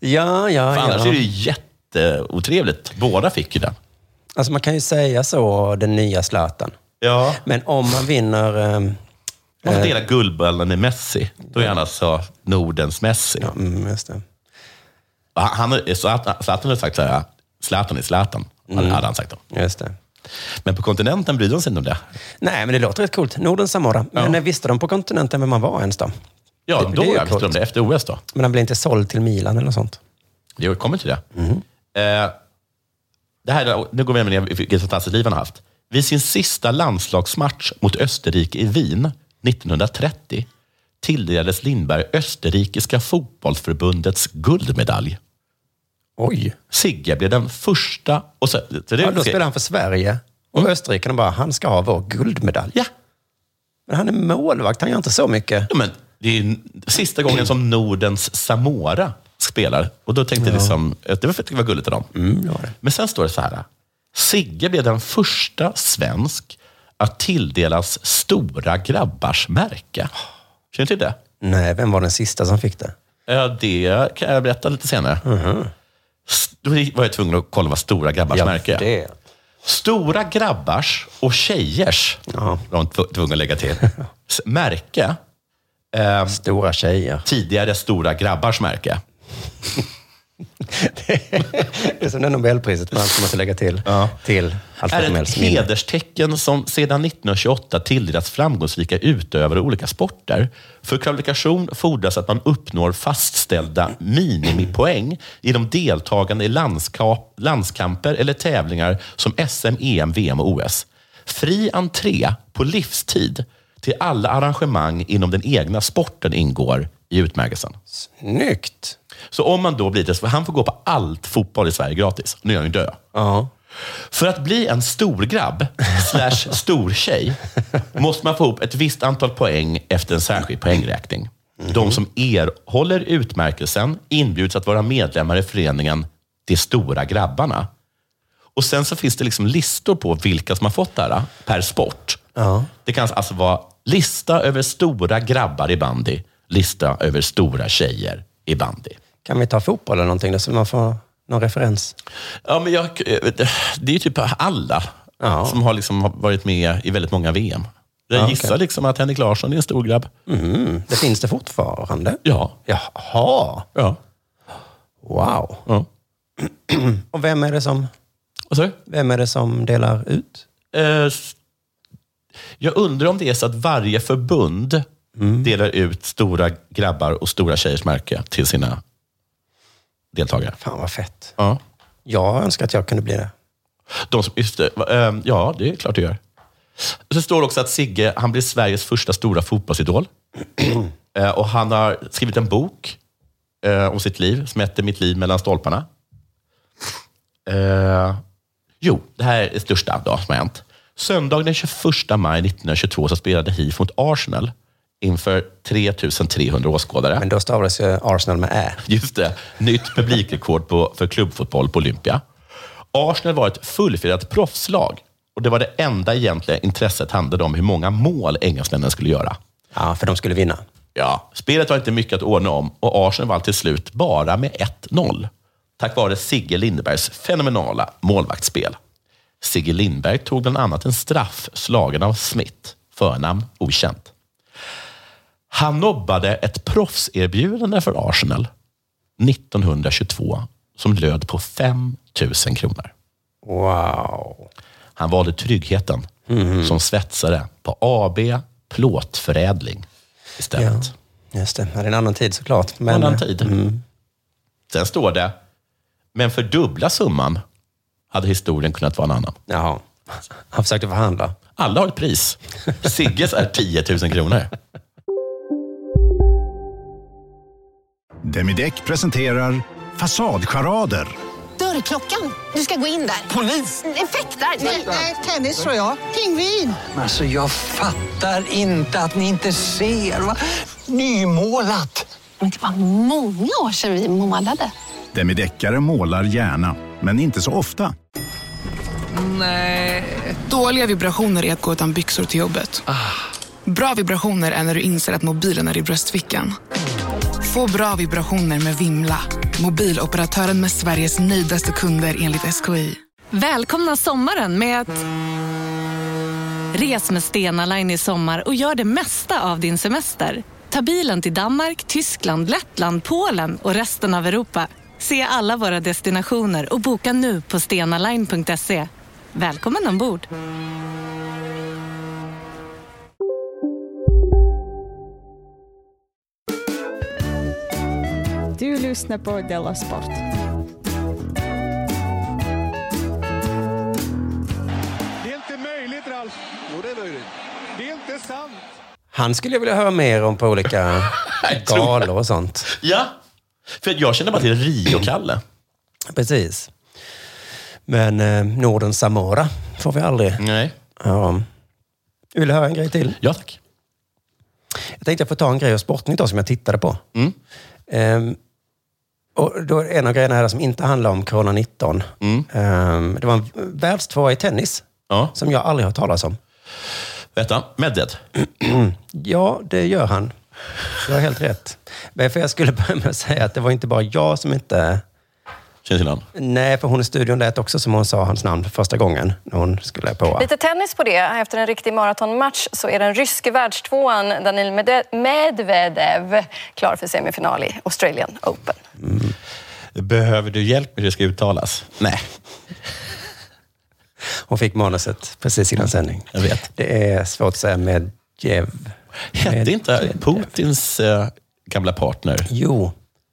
[SPEAKER 7] Ja, ja,
[SPEAKER 6] För annars
[SPEAKER 7] ja.
[SPEAKER 6] är det ju jätteotrevligt. Båda fick ju den.
[SPEAKER 7] Alltså man kan ju säga så, den nya Zlatan.
[SPEAKER 6] Ja.
[SPEAKER 7] Men om man vinner... ehm,
[SPEAKER 6] Man får
[SPEAKER 7] eh,
[SPEAKER 6] dela Guldbollen med Messi. Då är han alltså Nordens Messi.
[SPEAKER 7] mm, just det.
[SPEAKER 6] Och Han, han- Zlatan Zlatan har sagt så här, Zlatan är Zlatan. Mm. Hade han sagt då.
[SPEAKER 7] Just det.
[SPEAKER 6] Men på kontinenten bryr de sig inte om det.
[SPEAKER 7] Nej, men det låter rätt coolt. Nordens Samora. Men eh, visste de på kontinenten vem man var ens då?
[SPEAKER 6] Ja,
[SPEAKER 7] Det-
[SPEAKER 6] då
[SPEAKER 7] det är ju
[SPEAKER 6] det visste de
[SPEAKER 7] coolt.
[SPEAKER 6] det. Efter OS då.
[SPEAKER 7] Men han blev inte såld till Milan eller något sånt?
[SPEAKER 6] Jo, Jag kommer till det. Eh, det här, nu går vi in i vilket fantastiskt liv han har haft. Vid sin sista landslagsmatch mot Österrike i Wien 1930 tilldelades Lindberg Österrikiska fotbollsförbundets guldmedalj.
[SPEAKER 7] Oj!
[SPEAKER 6] Sigge blev den första... Och så, så det,
[SPEAKER 7] Ja, då spelar han för Sverige. Och Österrike, de bara, han ska ha vår guldmedalj.
[SPEAKER 6] Ja.
[SPEAKER 7] Men han är målvakt, han gör inte så mycket.
[SPEAKER 6] Ja, men det är ju sista gången som Nordens Samora spelar. Och då tänkte jag liksom, att det var, det var gulligt av dem. Men sen står Mm, det så här. Sigge blev den första svensk att tilldelas stora grabbars märke. Känner du till det?
[SPEAKER 7] Nej, vem var den sista som fick det?
[SPEAKER 6] Eh, Det kan jag berätta lite senare. S- Då var jag tvungen att kolla vad stora grabbars
[SPEAKER 7] Ja,
[SPEAKER 6] märke är.
[SPEAKER 7] det.
[SPEAKER 6] Stora grabbars och tjejers, var de tv- tvungna att lägga till, s- märke. eh,
[SPEAKER 7] Stora tjejer.
[SPEAKER 6] tidigare stora grabbars märke.
[SPEAKER 7] Det är som det Nobelpriset man alltid måste lägga till. Till
[SPEAKER 6] är
[SPEAKER 7] Alfred
[SPEAKER 6] ett
[SPEAKER 7] Nobels minne.
[SPEAKER 6] hederstecken som sedan 1928 tilldelats framgångsrika utövare i olika sporter. För kvalifikation fordras att man uppnår fastställda minimipoäng genom deltagande i landskap, landskamper eller tävlingar som E SM, EM, VM och OS. Fri entré på livstid till alla arrangemang inom den egna sporten ingår i utmärkelsen.
[SPEAKER 7] Snyggt!
[SPEAKER 6] Så om man då blir det, för han får gå på allt fotboll i Sverige gratis. Nu är han ju död.
[SPEAKER 7] Ja.
[SPEAKER 6] För att bli en storgrabb slash stortjej måste man få ihop ett visst antal poäng efter en särskild poängräkning. De som erhåller utmärkelsen inbjuds att vara medlemmar i föreningen De stora grabbarna. Och sen så finns det liksom listor på vilka som har fått det här per sport.
[SPEAKER 7] Ja.
[SPEAKER 6] Det kan alltså vara lista över stora grabbar i bandy, lista över stora tjejer i bandy.
[SPEAKER 7] Kan vi ta fotboll eller någonting då, så man får någon referens?
[SPEAKER 6] Ja, men jag, eh, det är ju typ alla
[SPEAKER 7] Ja.
[SPEAKER 6] som har liksom varit med i väldigt många VM. Jag
[SPEAKER 7] Ja,
[SPEAKER 6] gissar
[SPEAKER 7] okej.
[SPEAKER 6] liksom att Henrik Larsson är en stor grabb.
[SPEAKER 7] Mm, det finns det fortfarande.
[SPEAKER 6] Ja.
[SPEAKER 7] Jaha!
[SPEAKER 6] ja.
[SPEAKER 7] Wow!
[SPEAKER 6] ja.
[SPEAKER 7] Och vem är det som,
[SPEAKER 6] Vad sa du?
[SPEAKER 7] vem är det som delar ut?
[SPEAKER 6] Eh, s- Jag undrar om det är så att varje förbund delar ut stora grabbar och stora tjejers märke till sina deltagare.
[SPEAKER 7] Fan vad fett.
[SPEAKER 6] Ja,
[SPEAKER 7] Jag önskar att jag kunde bli det.
[SPEAKER 6] De som, just det, va- ehm, ja det är klart det gör. Så står det också att Sigge han blir Sveriges första stora fotbollsidol. Eh, och han har skrivit en bok eh, om sitt liv som heter Mitt liv mellan stolparna. Eh, jo, det här är det största då, som har hänt. Söndagen den 21 maj 1922 så spelade HIF mot Arsenal inför 3300 åskådare.
[SPEAKER 7] Men då stavades ju Arsenal med Ä.
[SPEAKER 6] Just det. Nytt publikrekord på, för klubbfotboll på Olympia. Arsenal var ett fullfjädrat proffslag och det var det enda egentliga intresset handlade om hur många mål engelsmännen skulle göra.
[SPEAKER 7] Ja, för de skulle vinna.
[SPEAKER 6] Ja, spelet var inte mycket att ordna om och Arsenal vann till slut bara med 1-0. Tack vare Sigge Lindbergs fenomenala målvaktsspel. Sigge Lindberg tog bland annat en straff slagen av Smith, förnamn okänt. Han nobbade ett proffserbjudande för Arsenal 1922 som löd på 5 000 kronor.
[SPEAKER 7] Wow!
[SPEAKER 6] Han valde tryggheten som svetsare på AB Plåtförädling istället.
[SPEAKER 7] Just det. Ja, det är en annan tid såklart. Men, eh,
[SPEAKER 6] annan tid. Sen står det, men för dubbla summan hade historien kunnat vara en annan.
[SPEAKER 7] Jaha. Han försökte förhandla.
[SPEAKER 6] Alla har ett pris. Sigges är 10 000 kronor.
[SPEAKER 14] Demideck presenterar Fasadcharader.
[SPEAKER 15] Dörrklockan. Du ska gå in där. Polis? Effektar? Nej, nej, tennis tror jag. Pingvin.
[SPEAKER 16] Alltså jag fattar inte att ni inte ser. Va? Nymålat.
[SPEAKER 15] Men det var många år sedan vi målade.
[SPEAKER 14] Demideckare målar gärna, men inte så ofta.
[SPEAKER 17] Nej. Dåliga vibrationer är att gå utan byxor till jobbet. Bra vibrationer är när du inser att mobilen är i bröstfickan. Få bra vibrationer med Vimla. Mobiloperatören med Sveriges nöjdaste kunder enligt SKI.
[SPEAKER 9] Välkomna sommaren med att... Res med Stena Line i sommar och gör det mesta av din semester. Ta bilen till Danmark, Tyskland, Lettland, Polen och resten av Europa. Se alla våra destinationer och boka nu på stenaline.se. Välkommen ombord!
[SPEAKER 13] Du lyssnar på Della Sport.
[SPEAKER 18] Det är inte möjligt, Ralf. Jo, det är möjligt. Det är inte sant.
[SPEAKER 7] Han skulle jag vilja höra mer om på olika galor och sånt.
[SPEAKER 6] Ja, för jag känner bara till Rio-Kalle.
[SPEAKER 7] Precis. Men eh, Norden Samora får vi aldrig.
[SPEAKER 6] Nej.
[SPEAKER 7] Ja. Vill du höra en grej till?
[SPEAKER 6] Ja, tack.
[SPEAKER 7] Jag tänkte jag får ta en grej ur Sportnytt då, som jag tittade på.
[SPEAKER 6] Mm.
[SPEAKER 7] Ehm, och då är en av grejerna här som inte handlar om corona 19.
[SPEAKER 6] Mm.
[SPEAKER 7] Ehm, det var en världstvåa i tennis som jag aldrig har hört talas om.
[SPEAKER 6] Vet han? Medved?
[SPEAKER 7] ja, det gör han. Du har helt rätt. Men för jag skulle börja med att säga att det var inte bara jag som inte...
[SPEAKER 6] Känner till honom?
[SPEAKER 7] Nej, för hon i studion lät också som hon sa hans namn för första gången när hon skulle på.
[SPEAKER 19] Lite tennis på det. Efter en riktig maratonmatch så är den ryske världstvåan Daniil Mede- Medvedev klar för semifinal i Australian Open.
[SPEAKER 6] Behöver du hjälp med hur det ska uttalas? Nej.
[SPEAKER 7] Hon fick manuset precis innan sändning.
[SPEAKER 6] Jag vet.
[SPEAKER 7] Det är svårt att säga med Jev.
[SPEAKER 6] Hette inte Putins eh, gamla partner?
[SPEAKER 7] Jo,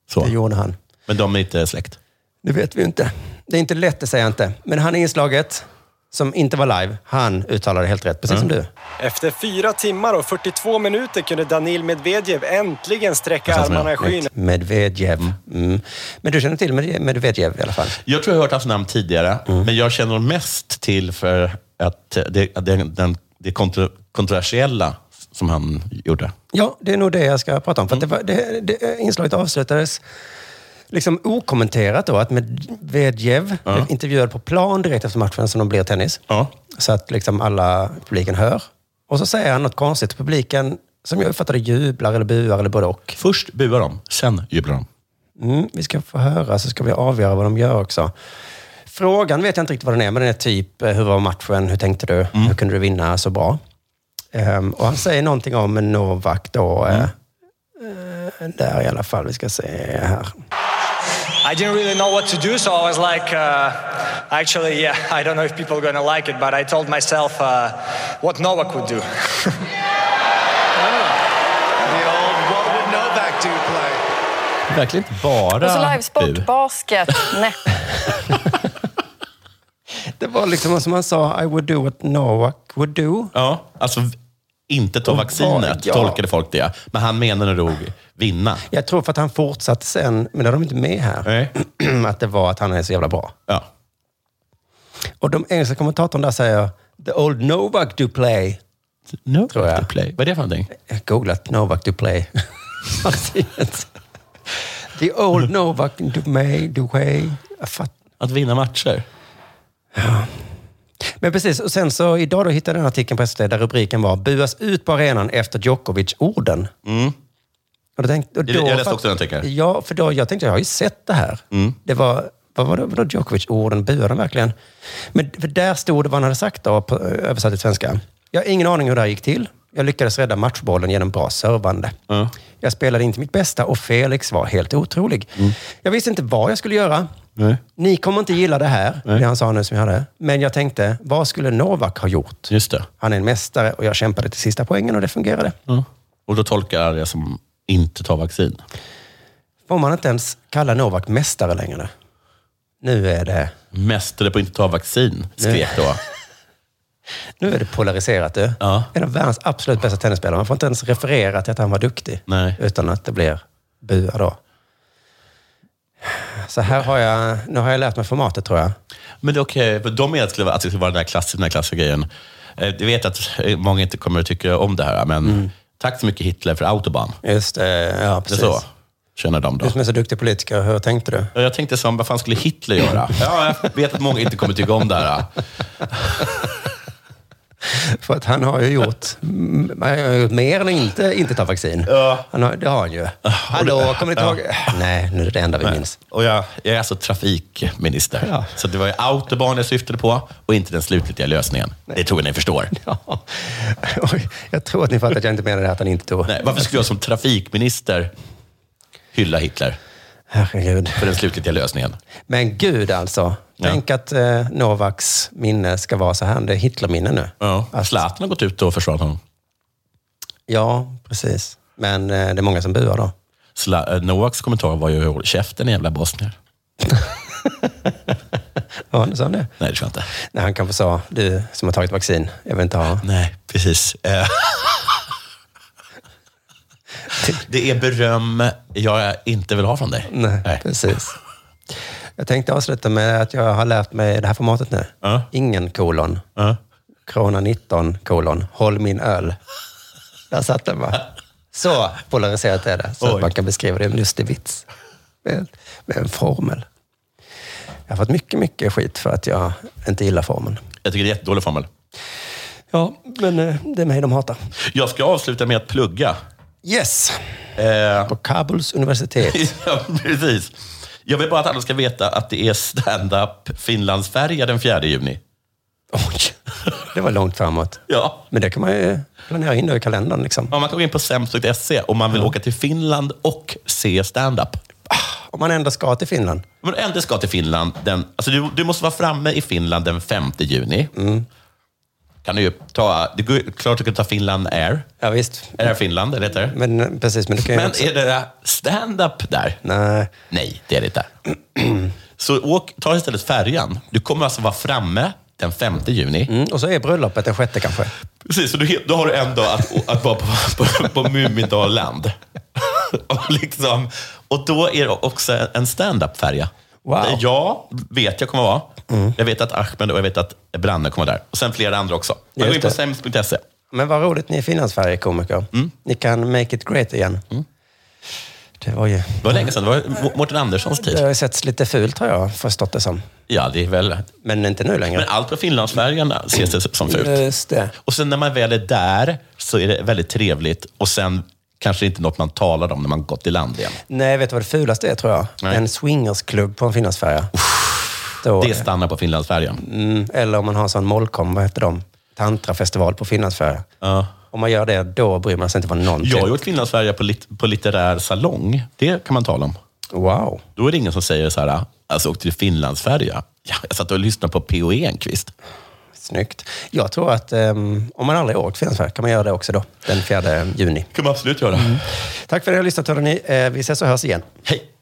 [SPEAKER 6] Så.
[SPEAKER 7] det gjorde han.
[SPEAKER 6] Men de är inte släkt?
[SPEAKER 7] Det vet vi ju inte. Det är inte lätt, det säger jag inte. Men han i inslaget, som inte var live, han uttalade helt rätt, precis som du.
[SPEAKER 20] Efter fyra timmar och 42 minuter kunde Danil Medvedev äntligen sträcka
[SPEAKER 7] Precis som jag.
[SPEAKER 20] armarna i skyn.
[SPEAKER 7] Medvedev. Mm. Men du känner till Med- Medvedev i alla fall?
[SPEAKER 6] Jag tror jag har hört hans namn tidigare, men jag känner honom mest till för att det, att det, den, det kontro, kontroversiella som han gjorde.
[SPEAKER 7] Ja, det är nog det jag ska prata om. För att det var, det, det, inslaget avslutades liksom okommenterat då, att Medvedev blev intervjuad på plan direkt efter matchen som de blir tennis. Så att liksom alla i publiken hör. Och så säger han något konstigt. Publiken, som jag uppfattade jublar eller buar eller både och.
[SPEAKER 6] Först buar de, sen jublar de.
[SPEAKER 7] Mm, vi ska få höra, så ska vi avgöra vad de gör också. Frågan vet jag inte riktigt vad den är, men den är typ, eh, hur var matchen? Hur tänkte du? Hur kunde du vinna så bra? Ehm, och han säger någonting om Novak då. eh, eh, där i alla fall, vi ska se här.
[SPEAKER 21] I didn't really know what to do, so I was like, uh, actually, yeah, I don't know if people are gonna like it, but I told myself uh, what Novak would do.
[SPEAKER 6] Verkligen inte bara
[SPEAKER 11] Och så livesport, basket, nej.
[SPEAKER 7] Det var liksom som han sa, I would do what Novak would do.
[SPEAKER 6] Ja, alltså inte ta vaccinet,
[SPEAKER 7] ja.
[SPEAKER 6] tolkade folk det. Men han menade nog vinna.
[SPEAKER 7] Jag tror för att han fortsatte sen, men det har de inte med här, att det var att han är så jävla bra.
[SPEAKER 6] Ja.
[SPEAKER 7] Och de engelska kommentatorerna där säger, the old Novak do play. tror jag.
[SPEAKER 6] Play. Vad är det för någonting?
[SPEAKER 7] Jag har googlat Novak do play. the old Novak do may, do way. Jag fatt-
[SPEAKER 6] Att vinna matcher.
[SPEAKER 7] Men precis, och sen så idag då hittade jag den artikeln på SVT där rubriken var “Buas ut på arenan efter Djokovic-orden”. Och då tänkte, och då,
[SPEAKER 6] Jag- jag läste också den artikeln. Mm.
[SPEAKER 7] Ja, för då, jag tänkte jag har ju sett det här. Det var, vad var det, vadå Djokovic-orden? Buade de verkligen? Men för där stod det vad han hade sagt då, på, översatt till svenska. Jag har ingen aning hur det här gick till. Jag lyckades rädda matchbollen genom bra servande. Jag spelade inte mitt bästa och Felix var helt otrolig.
[SPEAKER 6] Mm.
[SPEAKER 7] Jag visste inte vad jag skulle göra. Ni kommer inte gilla det här, det han sa nu som jag hade. Men jag tänkte, vad skulle Novak ha gjort?
[SPEAKER 6] Just det.
[SPEAKER 7] Han är en mästare och jag kämpade till sista poängen och det fungerade.
[SPEAKER 6] Mm. Och då tolkar jag det som inte ta vaccin.
[SPEAKER 7] Får man inte ens kalla Novak mästare längre? Nu är det...
[SPEAKER 6] Mästare på att inte ta vaccin, skrek då
[SPEAKER 7] Nu är det polariserat du. En av världens absolut bästa tennisspelare. Man får inte ens referera till att han var duktig.
[SPEAKER 6] Nej.
[SPEAKER 7] Utan att det blir bua då. Så här har jag, nu har jag lärt mig formatet tror jag.
[SPEAKER 6] Men det är okej, för de är att det skulle vara- att det skulle vara den här klassiska, den här klassiska grejen. Eh, Jag vet att eh, många inte kommer att tycka om det här, men tack så mycket Hitler för Autobahn.
[SPEAKER 7] Just det, ja precis.
[SPEAKER 6] Det är så, känner de då.
[SPEAKER 7] Du som är så duktig politiker, hur tänkte du?
[SPEAKER 6] Ja, Jag tänkte som, vad fan skulle Hitler göra? Ja, jag vet att många inte kommer tycka om det här.
[SPEAKER 7] För att han har ju gjort, mm, han har gjort mer än att inte, inte ta vaccin. Han har, det har han ju. Hallå, kommer ni inte ihåg? Nej, nu är det det enda vi minns.
[SPEAKER 6] Och jag, jag är alltså trafikminister.
[SPEAKER 7] Ja.
[SPEAKER 6] Så det var ju Autobahn jag syftade på och inte den slutgiltiga lösningen. Det tror jag ni förstår.
[SPEAKER 7] Oj, jag tror att ni fattar att jag inte menade att han inte tog.
[SPEAKER 6] Nej, varför skulle jag som trafikminister hylla Hitler
[SPEAKER 7] Herregud.
[SPEAKER 6] för den slutgiltiga lösningen?
[SPEAKER 7] Men gud alltså. Tänk att eh, Novaks minne ska vara så här. Det är Hitlerminne nu.
[SPEAKER 6] Ja, Zlatan har gått ut och försvarat honom.
[SPEAKER 7] Ja, precis. Men eh, det är många som buar då.
[SPEAKER 6] Sla- eh, Noaks kommentar var ju håll käften jävla bosnier.
[SPEAKER 7] Ja, sa han det?
[SPEAKER 6] Nej, det tror jag inte.
[SPEAKER 7] Nej, han kanske sa, du som har tagit vaccin, jag vill inte ha.
[SPEAKER 6] Nej, precis. Eh. Det är beröm jag inte vill ha från dig.
[SPEAKER 7] Nej, precis. Jag tänkte avsluta med att jag har lärt mig det här formatet nu. Ingen kolon. Krona 19 kolon. Håll min öl. Där satt den va? Så polariserat är det. Så att
[SPEAKER 6] Oj.
[SPEAKER 7] man kan beskriva det med en lustig vits. Med, med en formel. Jag har fått mycket, mycket skit för att jag inte gillar formeln.
[SPEAKER 6] Jag tycker det är jättedålig formel.
[SPEAKER 7] Ja, men eh, det är mig de hatar.
[SPEAKER 6] Jag ska avsluta med att plugga.
[SPEAKER 7] Yes!
[SPEAKER 6] Eh,
[SPEAKER 7] På Kabuls universitet.
[SPEAKER 6] ja, precis. Jag vill bara att alla ska veta att det är stand-up Finlandsfärja den 4 juni.
[SPEAKER 7] Oj, det var långt framåt.
[SPEAKER 6] Ja.
[SPEAKER 7] Men det kan man ju planera in då i kalendern. Liksom.
[SPEAKER 6] Ja, man kan gå in på semst.se om man vill åka till Finland och se stand-up.
[SPEAKER 7] Om man ändå ska till Finland.
[SPEAKER 6] Men ändå ska till Finland. Den, alltså du, du måste vara framme i Finland den 5 juni. Kan du ju ta, det går, klart du kan ta Finland Air.
[SPEAKER 7] Ja, visst.
[SPEAKER 6] Air Finland, eller heter det?
[SPEAKER 7] Men eh, precis, men du kan ju
[SPEAKER 6] Men
[SPEAKER 7] också...
[SPEAKER 6] är det stand-up där?
[SPEAKER 7] Nej.
[SPEAKER 6] Nej, det är det inte. Så åk, ta istället färjan. Du kommer alltså vara framme den 5 juni.
[SPEAKER 7] Mm, och så är bröllopet den sjätte kanske.
[SPEAKER 6] Precis, så du, då har du en dag att, att vara på, på, på Mumindalland. och, liksom, och då är det också en stand-up-färja.
[SPEAKER 7] Wow.
[SPEAKER 6] Där jag vet jag kommer vara. Jag vet att Ahmed och jag vet att Branne kommer vara där. Och sen flera andra också. Man går
[SPEAKER 7] Just
[SPEAKER 6] in på
[SPEAKER 7] det.
[SPEAKER 6] sems.se.
[SPEAKER 7] Men vad roligt, ni är Finlandsfärjekomiker.
[SPEAKER 6] Mm.
[SPEAKER 7] Ni kan make it great igen. Det var ju...
[SPEAKER 6] Det var länge sedan. Det var
[SPEAKER 7] Mm.
[SPEAKER 6] Må- Mårten Anderssons
[SPEAKER 7] Det har
[SPEAKER 6] tid.
[SPEAKER 7] ju setts lite fult har jag förstått det som.
[SPEAKER 6] Ja, det är väl...
[SPEAKER 7] Men inte nu längre.
[SPEAKER 6] Men allt på Finlandsfärjan ses det som fult.
[SPEAKER 7] Just det.
[SPEAKER 6] Och sen när man väl är där så är det väldigt trevligt och sen kanske inte något man talar om när man gått i land igen.
[SPEAKER 7] Nej, vet du vad det fulaste är tror jag?
[SPEAKER 6] Nej.
[SPEAKER 7] En swingersklubb på en Finlandsfärja. Då-
[SPEAKER 6] Det stannar på Finlandsfärjan.
[SPEAKER 7] Mm, eller om man har en sån mollkom, vad heter de? Tantrafestival på Finlandsfärja.
[SPEAKER 6] Ja.
[SPEAKER 7] Om man gör det, då bryr man sig inte vad någon
[SPEAKER 6] Jag har
[SPEAKER 7] tycker.
[SPEAKER 6] gjort Finlandsfärja på, lit- på litterär salong. Det kan man tala om.
[SPEAKER 7] Wow.
[SPEAKER 6] Då är det ingen som säger så här, alltså åkte du Finlandsfärja? Ja, jag satt och lyssnade på P.O. Enquist.
[SPEAKER 7] Snyggt. Jag tror att ehm, om man aldrig åkt Finlandsfärja kan man göra det också då, den 4 juni.
[SPEAKER 6] Det kan man absolut göra.
[SPEAKER 7] Tack för att ni har lyssnat, hörni. Eh, vi ses och hörs igen.
[SPEAKER 6] Hej!